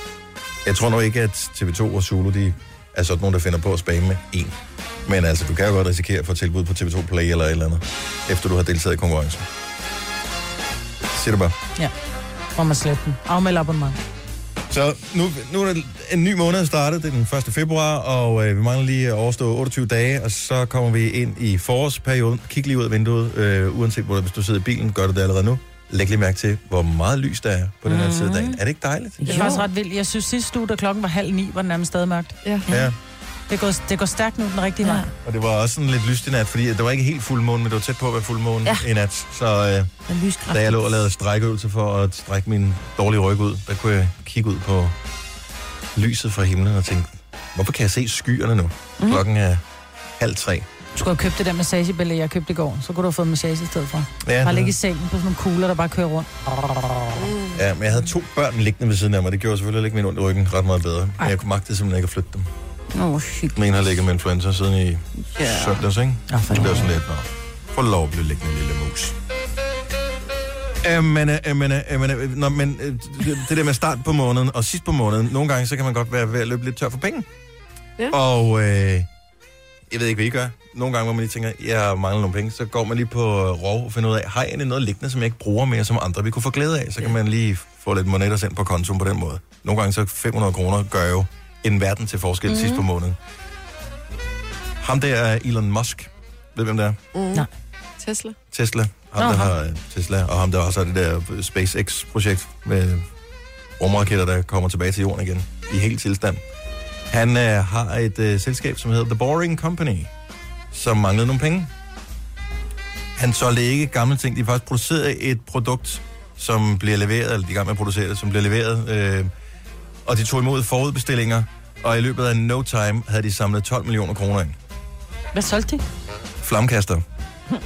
S1: Jeg tror nok ikke, at TV2 og Zulu, de er sådan nogen, der finder på at spamme med en. Men altså, du kan jo godt risikere at få tilbud på TV2 Play eller et eller andet, efter du har deltaget i konkurrencen. Siger du bare.
S3: Ja. Får man slet den. Afmeld abonnement.
S1: Så nu, nu er det en ny måned startet, det er den 1. februar, og øh, vi mangler lige at overstå 28 dage, og så kommer vi ind i forårsperioden. Kig lige ud af vinduet, øh, uanset hvor hvis du sidder i bilen, gør du det allerede nu. Læg lige mærke til, hvor meget lys der er på den her side af dagen. Er det ikke dejligt?
S3: Det er faktisk ret vildt. Jeg synes sidste uge, da klokken var halv ni, var den nærmest stadig mørkt.
S4: Ja.
S1: Ja.
S3: Det går, det går stærkt nu den rigtige vej.
S1: Og det var også sådan lidt lyst i nat, fordi det var ikke helt fuldmåne, men det var tæt på at være fuldmåne
S3: Ja.
S1: ja. i nat. Så øh, da jeg lå og lavede strækøvelser for at strække min dårlige ryg ud, der kunne jeg kigge ud på lyset fra himlen og tænke, hvorfor kan jeg se skyerne nu?
S3: Mhm.
S1: Mm. Klokken er halv tre.
S3: Du skulle have købt det der massagebælle, jeg købte i går. Så kunne du have fået massage i stedet for.
S1: Ja.
S3: bare ligge i sengen på sådan nogle kugler, der bare kører rundt.
S1: Ja, men jeg havde to børn liggende ved siden af mig. Det gjorde selvfølgelig ikke min ondt i ryggen ret meget bedre. Men jeg kunne magte simpelthen ikke at flytte dem.
S3: Åh, oh,
S1: Den ene har ligget med influenza siden i yeah. søndags, ikke? Ja, for det blev sådan lidt, nå. Få lov at blive liggende, lille mus. Jamen, øh, jamen, øh, jamen, øh, nå, men øh, det- det der med start på måneden og sidst på måneden, nogle gange, så kan man godt være ved at løbe lidt tør for penge.
S4: Ja.
S1: Og øh, jeg ved ikke, hvad I gør. Nogle gange, hvor man lige tænker, jeg mangler nogle penge, så går man lige på øh, rov og finder ud af, har jeg egentlig noget liggende, som jeg ikke bruger mere, som andre vi kunne få glæde af? Så kan man lige få lidt monetter sendt på kontoen på den måde. Nogle gange så 500 kroner gør jo en verden til forskel mm. sidst på måneden. Ham der er Elon Musk. Ved du, hvem det er?
S4: Mm.
S3: Nej.
S4: Tesla.
S1: Tesla. Ham,
S4: Nå,
S1: der
S4: ham.
S1: har øh, Tesla, og ham, der også har det der øh, SpaceX-projekt med rumraketter, der kommer tilbage til jorden igen i helt tilstand. Han øh, har et øh, selskab, som hedder The Boring Company, som manglede nogle penge. Han solgte ikke gamle ting. De faktisk producerede et produkt, som bliver leveret, eller de er i gang med at producere det, som bliver leveret. Øh, og de tog imod forudbestillinger, og i løbet af no time havde de samlet 12 millioner kroner ind.
S3: Hvad solgte de?
S1: Flammekaster.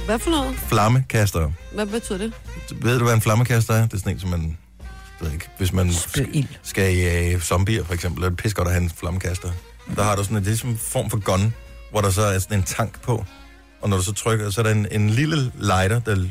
S4: Hvad for noget?
S1: Flammekaster.
S4: Hvad betyder det?
S1: Ved du, hvad en flammekaster er? Det er sådan en, som man... Jeg ved ikke, hvis man skal, skal jage zombier, for eksempel, er det pis godt at have en flammekaster. Der har du sådan, det er sådan en form for gun, hvor der så er sådan en tank på. Og når du så trykker, så er der en, en lille lighter, der, der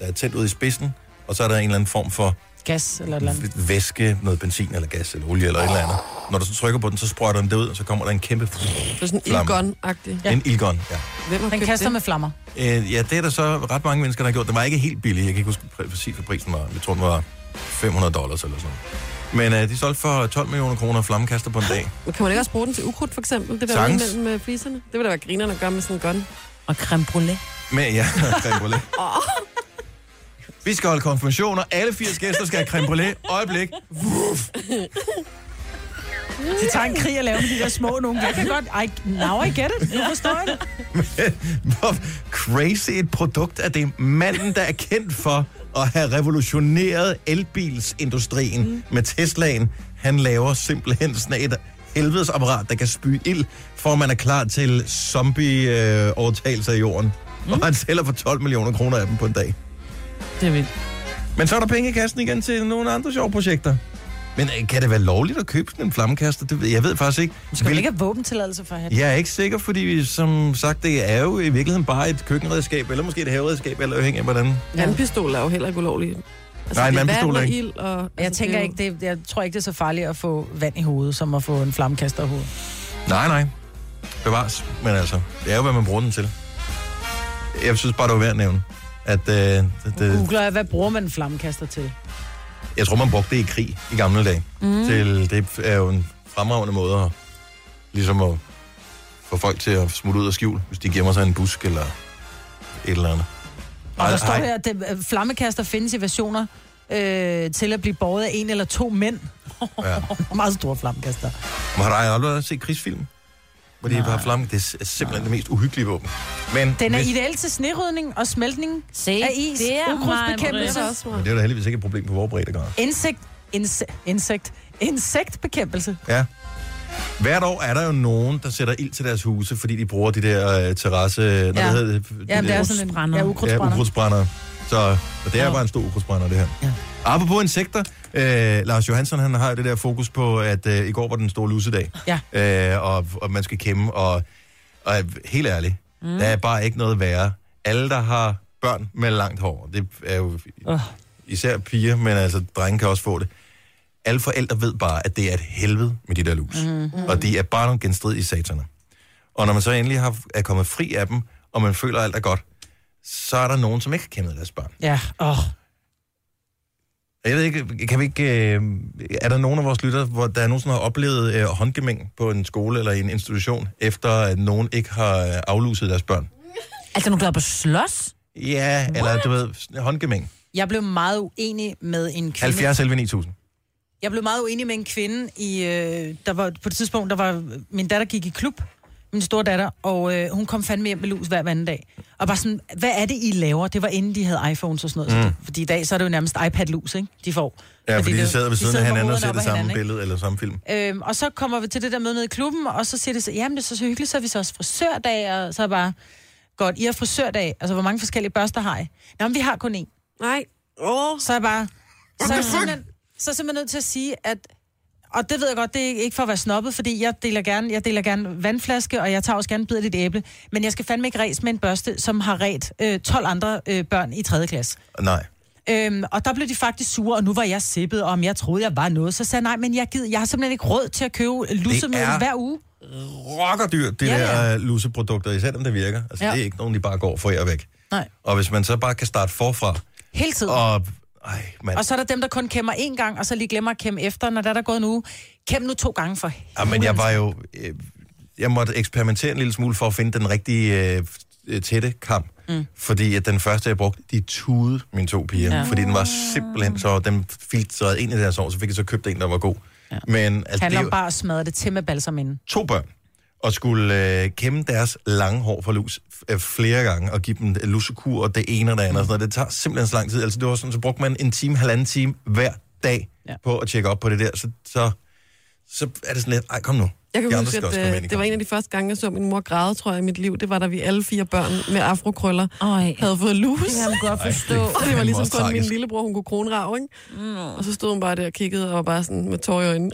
S1: er tæt ud i spidsen, og så er der en eller anden form for
S3: Gas eller et eller andet.
S1: væske, noget benzin eller gas eller olie eller oh. et eller andet. Når du så trykker på den, så sprøjter den det ud, og så kommer der en kæmpe
S4: Det er sådan en ildgun-agtig.
S1: Ja. En ilgon, ja.
S4: Hvem har
S3: Den
S4: købt
S3: kaster
S4: det?
S3: med flammer.
S1: Øh, ja, det er der så ret mange mennesker, der har gjort. Det var ikke helt billigt. Jeg kan ikke huske præ- præcis, hvad prisen var. Jeg tror, den var 500 dollars eller sådan noget. Men øh, de solgte for 12 millioner kroner flammekaster på en dag.
S4: Men Kan man ikke også bruge den til ukrudt, for eksempel? Det der
S1: Sagtens.
S4: mellem med fliserne. Det vil da være grinerne at gøre med sådan en gun.
S8: Og creme brulee.
S1: Men ja, creme brulee. Vi skal holde konfirmationer. Alle 80 gæster skal have creme brulee. Øjeblik. Wuff.
S3: De tager en krig at lave med de der små nogle. Jeg kan godt... I, now I get it. Nu forstår jeg det.
S1: Hvor crazy et produkt er det. Manden, der er kendt for at have revolutioneret elbilsindustrien mm. med Teslaen, han laver simpelthen sådan et helvedes apparat, der kan spyge ild, for at man er klar til zombie-overtagelser i jorden. Mm. Og han sælger for 12 millioner kroner af dem på en dag.
S3: Det er vildt.
S1: Men så er der penge i kassen igen til nogle andre sjove projekter. Men øh, kan det være lovligt at købe sådan en flammekaster? Det, ved- jeg ved faktisk ikke.
S3: Du skal vel ikke have våbentilladelse for at have det?
S1: Jeg er ikke sikker, fordi som sagt, det er jo i virkeligheden bare et køkkenredskab, eller måske et haveredskab, eller afhængig af hvordan.
S4: Vandpistol er jo heller ikke ulovlig. Altså,
S1: Nej, en
S4: det er
S1: vandpistol
S4: vand
S1: er
S4: og
S1: ikke.
S4: ild og... altså,
S3: Jeg tænker ikke, det, jeg tror ikke, det er så farligt at få vand i hovedet, som at få en flammekaster i hovedet.
S1: Nej, nej. Bevares. Men altså, det er jo, hvad man bruger den til. Jeg synes bare, det var værd at nævne. At, øh, det, det,
S3: Googler jeg, hvad bruger man en flammekaster til?
S1: jeg tror, man brugte det i krig i gamle dage.
S3: Mm.
S1: Mm. Til, det er jo en fremragende måde at, ligesom at få folk til at smutte ud af skjul, hvis de gemmer sig i en busk eller et eller andet.
S3: Og der
S1: Ej,
S3: står
S1: ej.
S3: her, at det- øh, flammekaster findes i versioner øh, til at blive båret af en eller to mænd.
S1: Ja.
S3: Meget store flammekaster.
S1: Men har du aldrig set krigsfilm? Hvor de har flamme. Det er simpelthen det mest uhyggelige våben. Men
S3: Den er
S1: hvis-
S3: ideel til snerydning og smeltning Se, af is,
S8: det er mig,
S3: ukrudtsbekæmpelse,
S8: Maria.
S1: Men det er jo da heldigvis ikke et problem på vores breddegrad.
S3: insekt, inse, insekt, insektbekæmpelse.
S1: Ja. Hvert år er der jo nogen, der sætter ild til deres huse, fordi de bruger de der øh, terrasse... Ja. Når
S3: Ja.
S1: det hedder,
S3: Ja, men det er sådan en ja,
S1: Ja,
S3: ukrudtsbrænder.
S1: ukrudtsbrændere. Så og det er bare en stor ukrudtsbrænder, det her. Ja. Apropos insekter, øh, Lars Johansson han har jo det der fokus på, at øh, i går var den store lusedag,
S3: Ja.
S1: øh, og, og man skal kæmpe, og, og øh, helt ærligt, mm. der er bare ikke noget værre. Alle, der har børn med langt hår, det er jo
S3: Åh.
S1: især piger, men altså drenge kan også få det. Alle forældre ved bare, at det er et helvede med de der lus. Mm. Og de er bare nogle genstridige sataner. Og når man så endelig har, er kommet fri af dem, og man føler, at alt er godt, så er der nogen, som ikke har kæmpet deres børn.
S3: Ja, åh.
S1: Jeg ved ikke, kan vi ikke, øh, er der nogen af vores lyttere, hvor der er nogen, som har oplevet øh, håndgemæng på en skole eller i en institution, efter at nogen ikke har øh, afluset deres børn?
S8: Altså, nu går på slås?
S1: Ja, What? eller du ved, sådan håndgemæng.
S3: Jeg blev meget uenig med en kvinde.
S1: 70 11 9000.
S3: Jeg blev meget uenig med en kvinde, i, øh, der var på det tidspunkt, der var, min datter gik i klub, min store datter, og øh, hun kom fandme hjem med lus hver anden dag. Og bare sådan, hvad er det, I laver? Det var inden de havde iPhones og sådan noget. Mm. Så
S1: Mm.
S3: det, fordi i dag, så er det jo nærmest iPad-lus, ikke? De får.
S1: Ja, fordi de
S3: det-
S1: sidder ved siden af
S3: med
S1: hinanden og
S3: hovederne
S1: ser
S3: op
S1: det
S3: ad
S1: samme
S3: hinanden, ikke?
S1: billede eller samme film.
S3: Øhm, og så kommer vi til det der møde nede i klubben, og så siger det så, jamen det er så, så hyggeligt, så er vi så også frisørdag, og så er jeg bare, godt, I har frisørdag, altså hvor mange forskellige børster har I? Nå, men vi har kun én.
S4: Nej. Oh.
S3: Så er jeg bare, så er jeg simpelthen, så er jeg simpelthen nødt til at sige, at og det ved jeg godt, det er ikke for at være snobbet, fordi jeg deler gerne, jeg deler gerne vandflaske, og jeg tager også gerne en bid af dit æble. Men jeg skal fandme ikke ræs med en børste, som har ret øh, 12 andre øh, børn i 3. klasse.
S1: Nej.
S3: Øhm, og der blev de faktisk sure, og nu var jeg sippet, og om jeg troede, jeg var noget, så sagde jeg, nej, men jeg, gider, jeg har simpelthen ikke råd til at købe lussemiddel
S1: er-
S3: hver uge.
S1: Rockerdyrt, det
S3: Ja,
S1: ja,
S3: ja.
S1: der øh, luseprodukter, især dem, der virker. Altså,
S3: Ja.
S1: ja. det er ikke nogen, de bare går for jer væk.
S3: Nej.
S1: Og hvis man så bare kan starte forfra,
S3: Hele tiden. Og,
S1: og... Ej, mand.
S3: og så er der dem, der kun kæmmer én gang, og så lige glemmer at kæmme efter, når der er der gået en uge. Kæm nu to gange for
S1: Ja, men jeg var jo... Øh, jeg måtte eksperimentere en lille smule for at finde den rigtige øh, øh, tætte kamp. Mm. Fordi at den første, jeg brugte, de tudede mine to piger.
S6: Ja.
S1: Ja. Fordi den var simpelthen så... Den filtrerede ind i deres år, så fik jeg så købt en, der var god. Ja. Men altså,
S3: altså,
S1: det er
S3: handler om
S1: jo
S3: bare at smadre det til med balsam inden.
S1: to børn. og skulle øh, kæmme deres lange hår for lus øh, flere gange, og give dem lussekur og det ene og det andet. Og sådan noget. Det tager simpelthen så lang tid. Altså, det var sådan, så brugte man en time, halvanden time hver dag ja. på at tjekke op på det der. Så, så, så er det sådan lidt, ej, kom nu.
S4: Jeg kan
S1: De andre skal
S4: huske,
S1: også
S4: at
S1: komme
S4: øh,
S1: ind i
S4: det var en af de første gange, jeg så min mor græde, tror jeg, i mit liv. Det var, da vi alle fire børn med afrokrøller Ej. havde fået lus.
S8: Det kan jeg godt Ej, forstå. det er
S4: og det var
S8: fandme
S4: ligesom
S8: også
S4: kun min
S8: tragisk.
S4: lillebror, hun kunne kronrave, ikke? Mm. Og så stod hun bare der og kiggede og var bare sådan med tår i øjnene.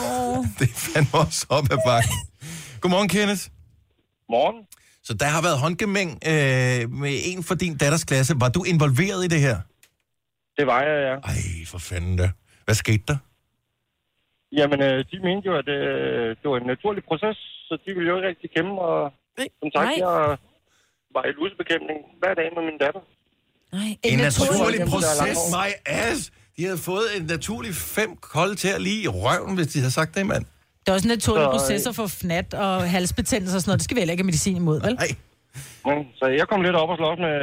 S1: Det er fandme også op ad bakken. Godmorgen, Kenneth. Morgen. Så der har været håndgemæng øh, med en fra din datters klasse. Var du involveret i det her?
S10: Det var jeg, ja.
S1: Ej, for fanden da. Hvad skete der?
S10: Jamen, øh, de mente jo, at øh, det var en naturlig proces, så de ville jo ikke rigtig kæmpe, og som sagt,
S1: Nej.
S10: jeg var i lusebekæmpning hver dag med min datter.
S8: Nej,
S1: En, naturlig proces, my ass. De havde fået en naturlig fem kolde til at lige i røven, hvis de havde sagt det, mand.
S3: Det er også en naturlig
S1: Så, øh,
S3: proces at få fnat og halsbetændelse og sådan noget. Det skal vi heller ikke have medicin imod, vel?
S1: Nej.
S10: Så jeg kom lidt op og slås med,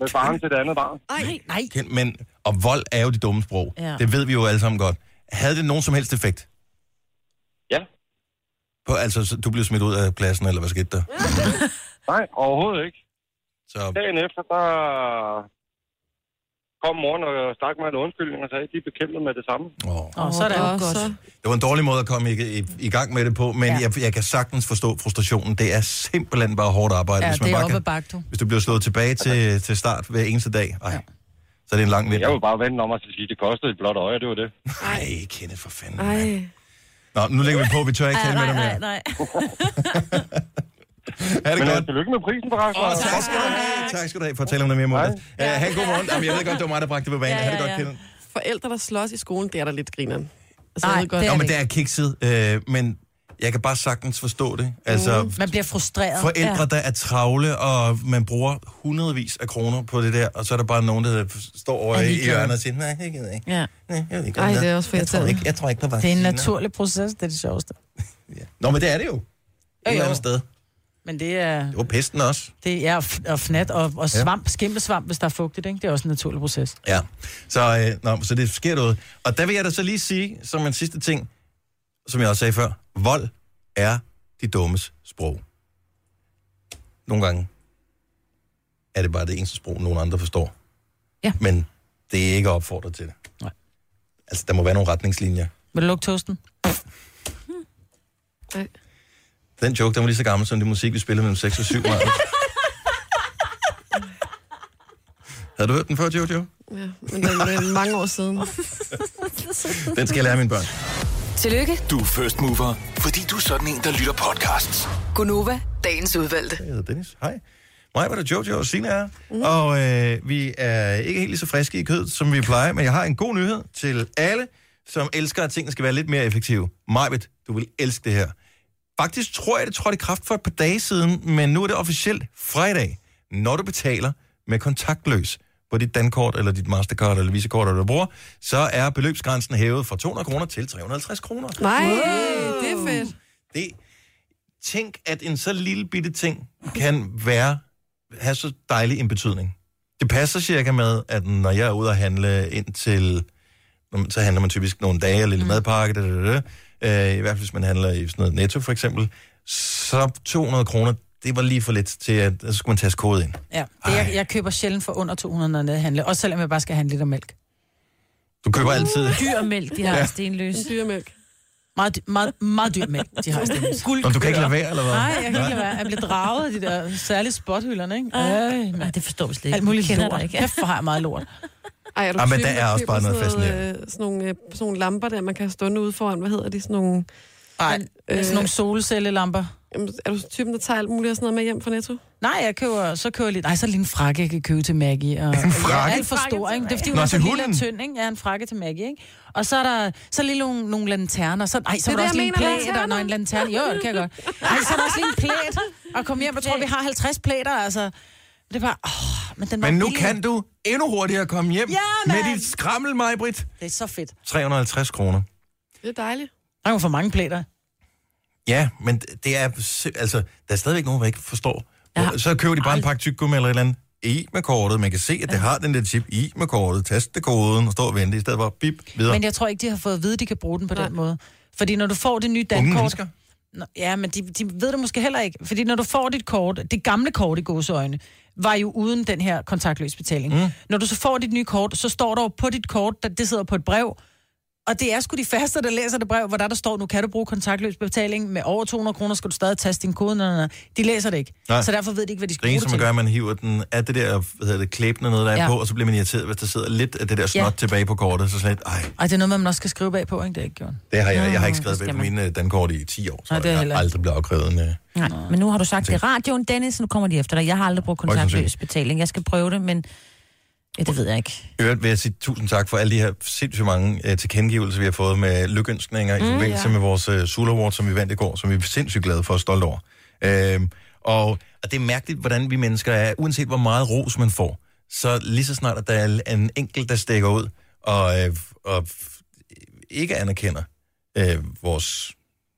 S10: med faren til det andet barn.
S3: Nej, nej.
S1: Ken- Men, og vold er jo det dumme sprog.
S10: Ja.
S1: Ja. Det ved vi jo alle sammen godt. Havde det nogen som helst effekt?
S10: Ja.
S1: På, altså, så du blev smidt ud af klassen, eller hvad skete der?
S10: Nej, overhovedet ikke.
S1: Så...
S10: Dagen efter, der kom moren og stak mig en undskyldning og sagde, at de bekæmpede med det samme.
S1: Åh,
S3: oh, så er det jo godt.
S1: Det var en dårlig måde at komme i, i, i gang med det på, men ja. jeg, jeg kan sagtens forstå frustrationen. Det er simpelthen bare hårdt arbejde.
S3: Ja,
S1: hvis, man
S3: det er
S1: bare
S3: oppe
S1: kan,
S3: bakke, du.
S1: hvis du bliver slået tilbage til, til start hver eneste dag, ej, ja. så er det en lang vinter.
S10: Jeg vil bare vende om og sige, at det kostede et blåt øje, det var det.
S1: Nej, Kenneth, for fanden.
S4: Ej.
S1: Nå, nu lægger vi på, vi tør ikke tale med dig mere.
S8: nej.
S1: Ha' det
S10: Men, øh,
S1: godt.
S10: Tillykke med prisen forresten.
S1: Åh, tak skal du have. Tak skal du have for at tale om det mere måde. Uh, ha' en god morgen. Jamen, jeg ved godt, det var mig, der bragte det på banen.
S4: Ja,
S1: Ha' det
S4: ja,
S1: godt,
S4: ja.
S1: Kenneth.
S4: Forældre, der slås i skolen, det er der lidt grineren. Altså,
S3: Nej,
S4: jeg ved
S1: Nå, men
S4: ikke.
S1: det er kikset, øh, men jeg kan bare sagtens forstå det. Altså,
S3: Man bliver frustreret.
S1: forældre, der er travle, og man bruger hundredvis af kroner på det der, og så er der bare nogen, der står over
S3: Er
S1: i
S3: ligeglade.
S1: hjørnet og siger, nej, jeg gider ikke.
S3: Ja.
S1: Nej, jeg ved ikke,
S3: Ej,
S1: hvad
S3: det er også for
S1: jeg tror
S3: irriterende.
S1: ikke, jeg tror ikke på
S3: Det er en
S1: vacciner.
S3: naturlig proces, det er det sjoveste.
S1: Nå, men det er det jo. Et
S3: Jo,
S1: eller
S3: jo.
S1: andet sted.
S3: Men det er,
S1: Det var pesten også.
S3: det er f- og fnat og, og svamp, skimmelsvamp, hvis der er fugtigt, ikke? Det er også en naturlig proces.
S1: Ja. Så, øh, nå, så det sker noget. Og der vil jeg da så lige sige, som en sidste ting, som jeg også sagde før, vold er de dummes sprog. Nogle gange er det bare det eneste sprog, nogen andre forstår.
S3: Ja.
S1: Men det er ikke opfordret til det.
S3: Nej.
S1: Altså, der må være nogle retningslinjer.
S3: Vil du lukke toasten?
S1: Den joke, den var lige så gammel som det musik, vi spillede mellem 6 og 7 meget. Havde du hørt den før, Jojo?
S4: Ja, men det er- det er mange år siden.
S1: Den skal jeg lære mine børn.
S7: Tillykke,
S6: Du er first mover, fordi du er sådan en, der lytter podcasts.
S7: Gunova, dagens udvalgte.
S1: Jeg hedder Dennis. Hej. Mig var der Jojo og Sina er. Mm. Og øh, vi er ikke helt lige så friske i kødet, som vi plejer, men jeg har en god nyhed til alle, som elsker, at tingene skal være lidt mere effektive. Majbet, du vil elske det her. Faktisk tror jeg, det trådte i kraft for et par dage siden, men nu er det officielt fredag, når du betaler med kontaktløs på dit Dankort, eller dit Mastercard, eller Visakort, eller hvad du bruger, så er beløbsgrænsen hævet fra 200 kroner til 350 kroner.
S4: Nej, det er fedt.
S1: Det, tænk, at en så lille bitte ting kan være, have så dejlig en betydning. Det passer cirka med, at når jeg er ude at handle ind til, når man- så handler man typisk nogle dage, eller lille madpakke, da, da, da, da. Øh, i hvert fald hvis man handler i sådan noget netto for eksempel, så 200 kroner, det var lige for lidt til, at så skulle man tage kode ind.
S3: Ja. Det, jeg, jeg køber sjældent for under 200, når jeg er nede at handle. Også selvom jeg bare skal have en liter mælk.
S1: Du
S3: Uh,
S1: køber altid...
S8: Dyr mælk, de har
S1: Ja.
S8: ja. stenløs.
S4: Dyr mælk.
S3: Meget, dy- meget, meget dyr mælk, de har i stenløs.
S1: Nå, du kan ikke lade være, eller hvad?
S3: Nej, jeg kan ikke lade være. Jeg bliver draget af de der særlige spothylderne, ikke? Ej, Ej,
S8: det forstår vi slet ikke.
S3: Alt muligt
S8: Vi kender dig
S3: lort.
S8: ikke.
S3: Kæft, hvor har jeg meget lort.
S4: Ej, er du
S1: Ja, men
S4: typen,
S1: der er også
S4: køber
S1: bare noget
S4: sådan Øh, sådan, nogle, øh, sådan nogle lamper der, man kan stående ude foran. Hvad hedder de? Sådan nogle...
S3: Ej,
S1: øh,
S3: sådan nogle solcellelamper.
S4: Jamen, er du typen, der tager alt muligt og sådan noget med hjem fra Netto?
S3: Nej, jeg køber, så køber jeg lidt. Nej, så er det lige en frakke, jeg kan købe til Maggie. Og,
S1: En frakke?
S3: Ja, alt for stor, ikke? Det er fordi,
S1: Nå,
S3: hun er så
S1: til
S3: lille og
S1: hunden?
S3: tynd, ikke? Ja, en frakke til Maggie, ikke? Og så er der så er lige nogle, nogle lanterner. Så, ej, så er
S4: Det er
S3: der også
S4: det,
S3: lige
S4: jeg
S3: en
S4: mener,
S3: plæt. Der, når en lanterne. Jo, det kan jeg godt. Ej, så er der også lige en plæt. Og kom hjem, jeg tror, vi har 50 plæter, altså. Det er bare, åh, men den var
S1: Men nu
S3: billig.
S1: kan du endnu hurtigere komme hjem
S3: Ja,
S1: med
S3: mand!
S1: dit skrammel, Majbrit.
S3: Det er så fedt.
S1: 350 kroner.
S4: Det er dejligt.
S3: Der er jo for mange plæter.
S1: Ja, men det er, sim- altså, der er stadigvæk nogen, der ikke forstår. Ja. Så køber de bare en pakke tyggegummi eller et eller andet i med kortet. Man kan se, at det har den der chip i med kortet. Taste koden og stå og vente, i stedet for bip videre.
S3: Men jeg tror ikke, de har fået at vide, at de kan bruge den på den måde. Fordi når du får det nye
S1: Unge
S3: dankort...
S1: mennesker?
S3: Nå, ja, men de, de ved det måske heller ikke. Fordi når du får dit kort, det gamle kort i gåseøjne, var jo uden den her kontaktløs betaling. Mm. Når du så får dit nye kort, så står der jo på dit kort, der, det sidder på et brev, og det er sgu de færreste, der læser det brev, hvor der, der står, nu kan du bruge kontaktløs betaling med over 200 kroner, skal du stadig taste din kode. Næ, næ, næ. De læser det ikke.
S1: Nej.
S3: Nej. Så derfor ved de ikke, hvad de skal
S1: Det
S3: bruge
S1: eneste,
S3: det
S1: man
S3: til.
S1: gør, er, at man hiver den af det der hvad hedder det, klæbende noget, der er
S3: Ja.
S1: på, og så bliver man irriteret, hvis der sidder lidt af det der snot
S3: Ja.
S1: tilbage på kortet. Så slet, ej,
S3: Ej, det er noget, man også skal skrive bag på, ikke? Det er ikke gjort.
S1: det har jeg, jeg har ikke
S3: Mm,
S1: skrevet
S3: det
S1: bag
S3: skal
S1: på
S3: man.
S1: mine øh, dankort i 10 år, så
S3: Nej,
S1: Nej,
S3: det er
S1: jeg
S3: heller
S1: har
S3: ikke.
S1: aldrig blevet afkrævet en... øh,
S8: Nej, men nu har du sagt det i radioen, Dennis, nu kommer de efter dig. Jeg har aldrig brugt
S1: Højst sandsynligt.
S8: kontaktløs betaling. Jeg skal prøve det, men ja, det ved jeg ikke.
S1: I øvrigt vil jeg sige tusind tak for alle de her sindssygt mange øh, tilkendegivelser, vi har fået med lykønskninger mm, i
S8: Mm,
S1: forbindelse
S8: ja.
S1: med vores øh, Sula Award, som vi vandt i går, som vi er sindssygt glade for og stolte over. Øhm, og, og det er mærkeligt, hvordan vi mennesker er, uanset hvor meget ros man får. Så lige så snart, at der er en enkelt, der stikker ud og, øh, og f- ikke anerkender øh, vores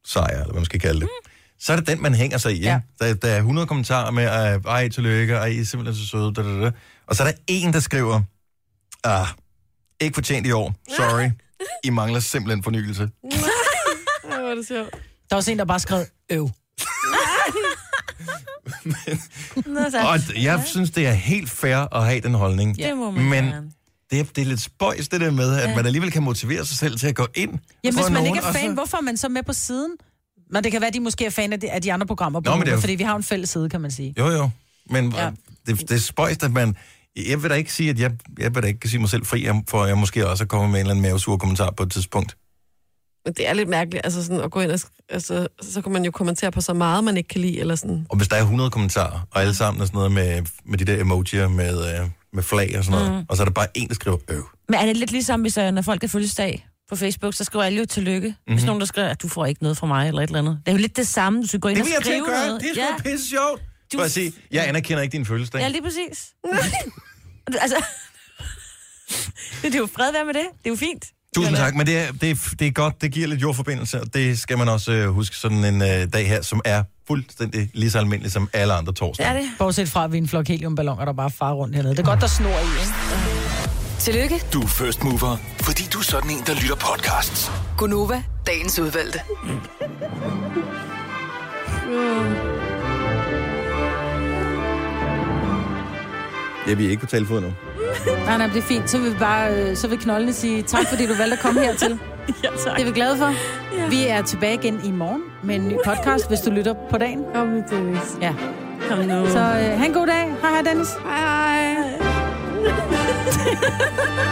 S1: sejr, eller hvad man skal kalde det, mm. så er det den, man hænger sig i. Ja. Der, der er 100 kommentarer med, øh, ej, tillykke, ej, I er simpelthen så søde, da, da, da. Og så er der en, der skriver, ah, ikke fortjent i år, sorry, I mangler simpelthen fornyelse.
S4: Ej, hvor er det sjovt.
S3: Der er også en, der bare skrev, øv.
S8: Nå, så.
S1: Og d- jeg synes, det er helt fair at have den holdning.
S8: Ja, det må man
S1: Men
S8: gerne.
S1: det er, det er lidt spøjs, det der med, at man alligevel kan motivere sig selv til at gå ind
S3: Jamen,
S1: for
S3: hvis man
S1: nogen, altså-
S3: ikke er
S1: og så-
S3: fan, hvorfor er man så med på siden? Men det kan være, at de måske er fan af de, af de andre programmer på
S1: Nå, men
S3: Nova,
S1: det er jo-
S3: fordi vi har jo en fælles side, kan man sige.
S1: Jo, jo. Men ja.
S3: Ja.
S1: det, det er spøjst, at man... Jeg vil da ikke sige, at jeg, jeg vil da ikke kan sige mig selv fri, jeg- for jeg måske også er kommet med en eller anden mavesur kommentar på et tidspunkt.
S4: Men det er lidt mærkeligt, altså sådan at gå ind og... sk- Altså, så kan man jo kommentere på så meget, man ikke kan lide, eller sådan.
S1: Og hvis der er 100 kommentarer, og alle sammen er sådan noget med, med de der emojier med, øh, med flag og sådan noget,
S8: Mm.
S1: mm. og så er der bare en, der skriver, øv.
S8: Men er det lidt ligesom, hvis øh, når folk er fødselsdag på Facebook, så skriver alle jo tillykke. Mm-hmm. Hvis
S1: Mhm.
S8: nogen, der skriver, at du får ikke noget fra mig, eller et eller andet. Det er jo lidt det samme, du skal gå ind
S1: Det
S8: og
S1: vil jeg til at
S8: skrive
S1: gøre.
S8: noget.
S1: Det er sgu pisse sjovt. Du... Bare sige, jeg anerkender ikke din fødselsdag.
S8: Ja, lige præcis. altså, det er jo fred være med det. Det er jo fint.
S1: Tusind tak, men det er, det, er, det er godt, det giver lidt jordforbindelse, og det skal man også øh, huske sådan en øh, dag her, som er fuldstændig lige så almindelig som alle andre torsdage.
S3: det. Bortset fra, at vi er en flok heliumballoner, der bare farer rundt hernede. Det er godt, der snor i, ikke?
S7: Tillykke,
S6: Du er first mover, fordi du er sådan en, der lytter podcasts.
S7: Gunova, dagens udvalgte.
S1: Ja, vi er ikke på talefod nu.
S3: Nej, nej, det er fint. Så vil, vi bare, øh, så vil knoldene sige tak, fordi du valgte at komme hertil.
S2: ja, tak.
S3: Det er vi glade for. Ja. Vi er tilbage igen i morgen med en ny podcast, hvis du lytter på dagen. Kom nu, Dennis. Ja. Kom nu. Så øh, ha' en god dag. Hej, hej, Dennis. Hej, hej.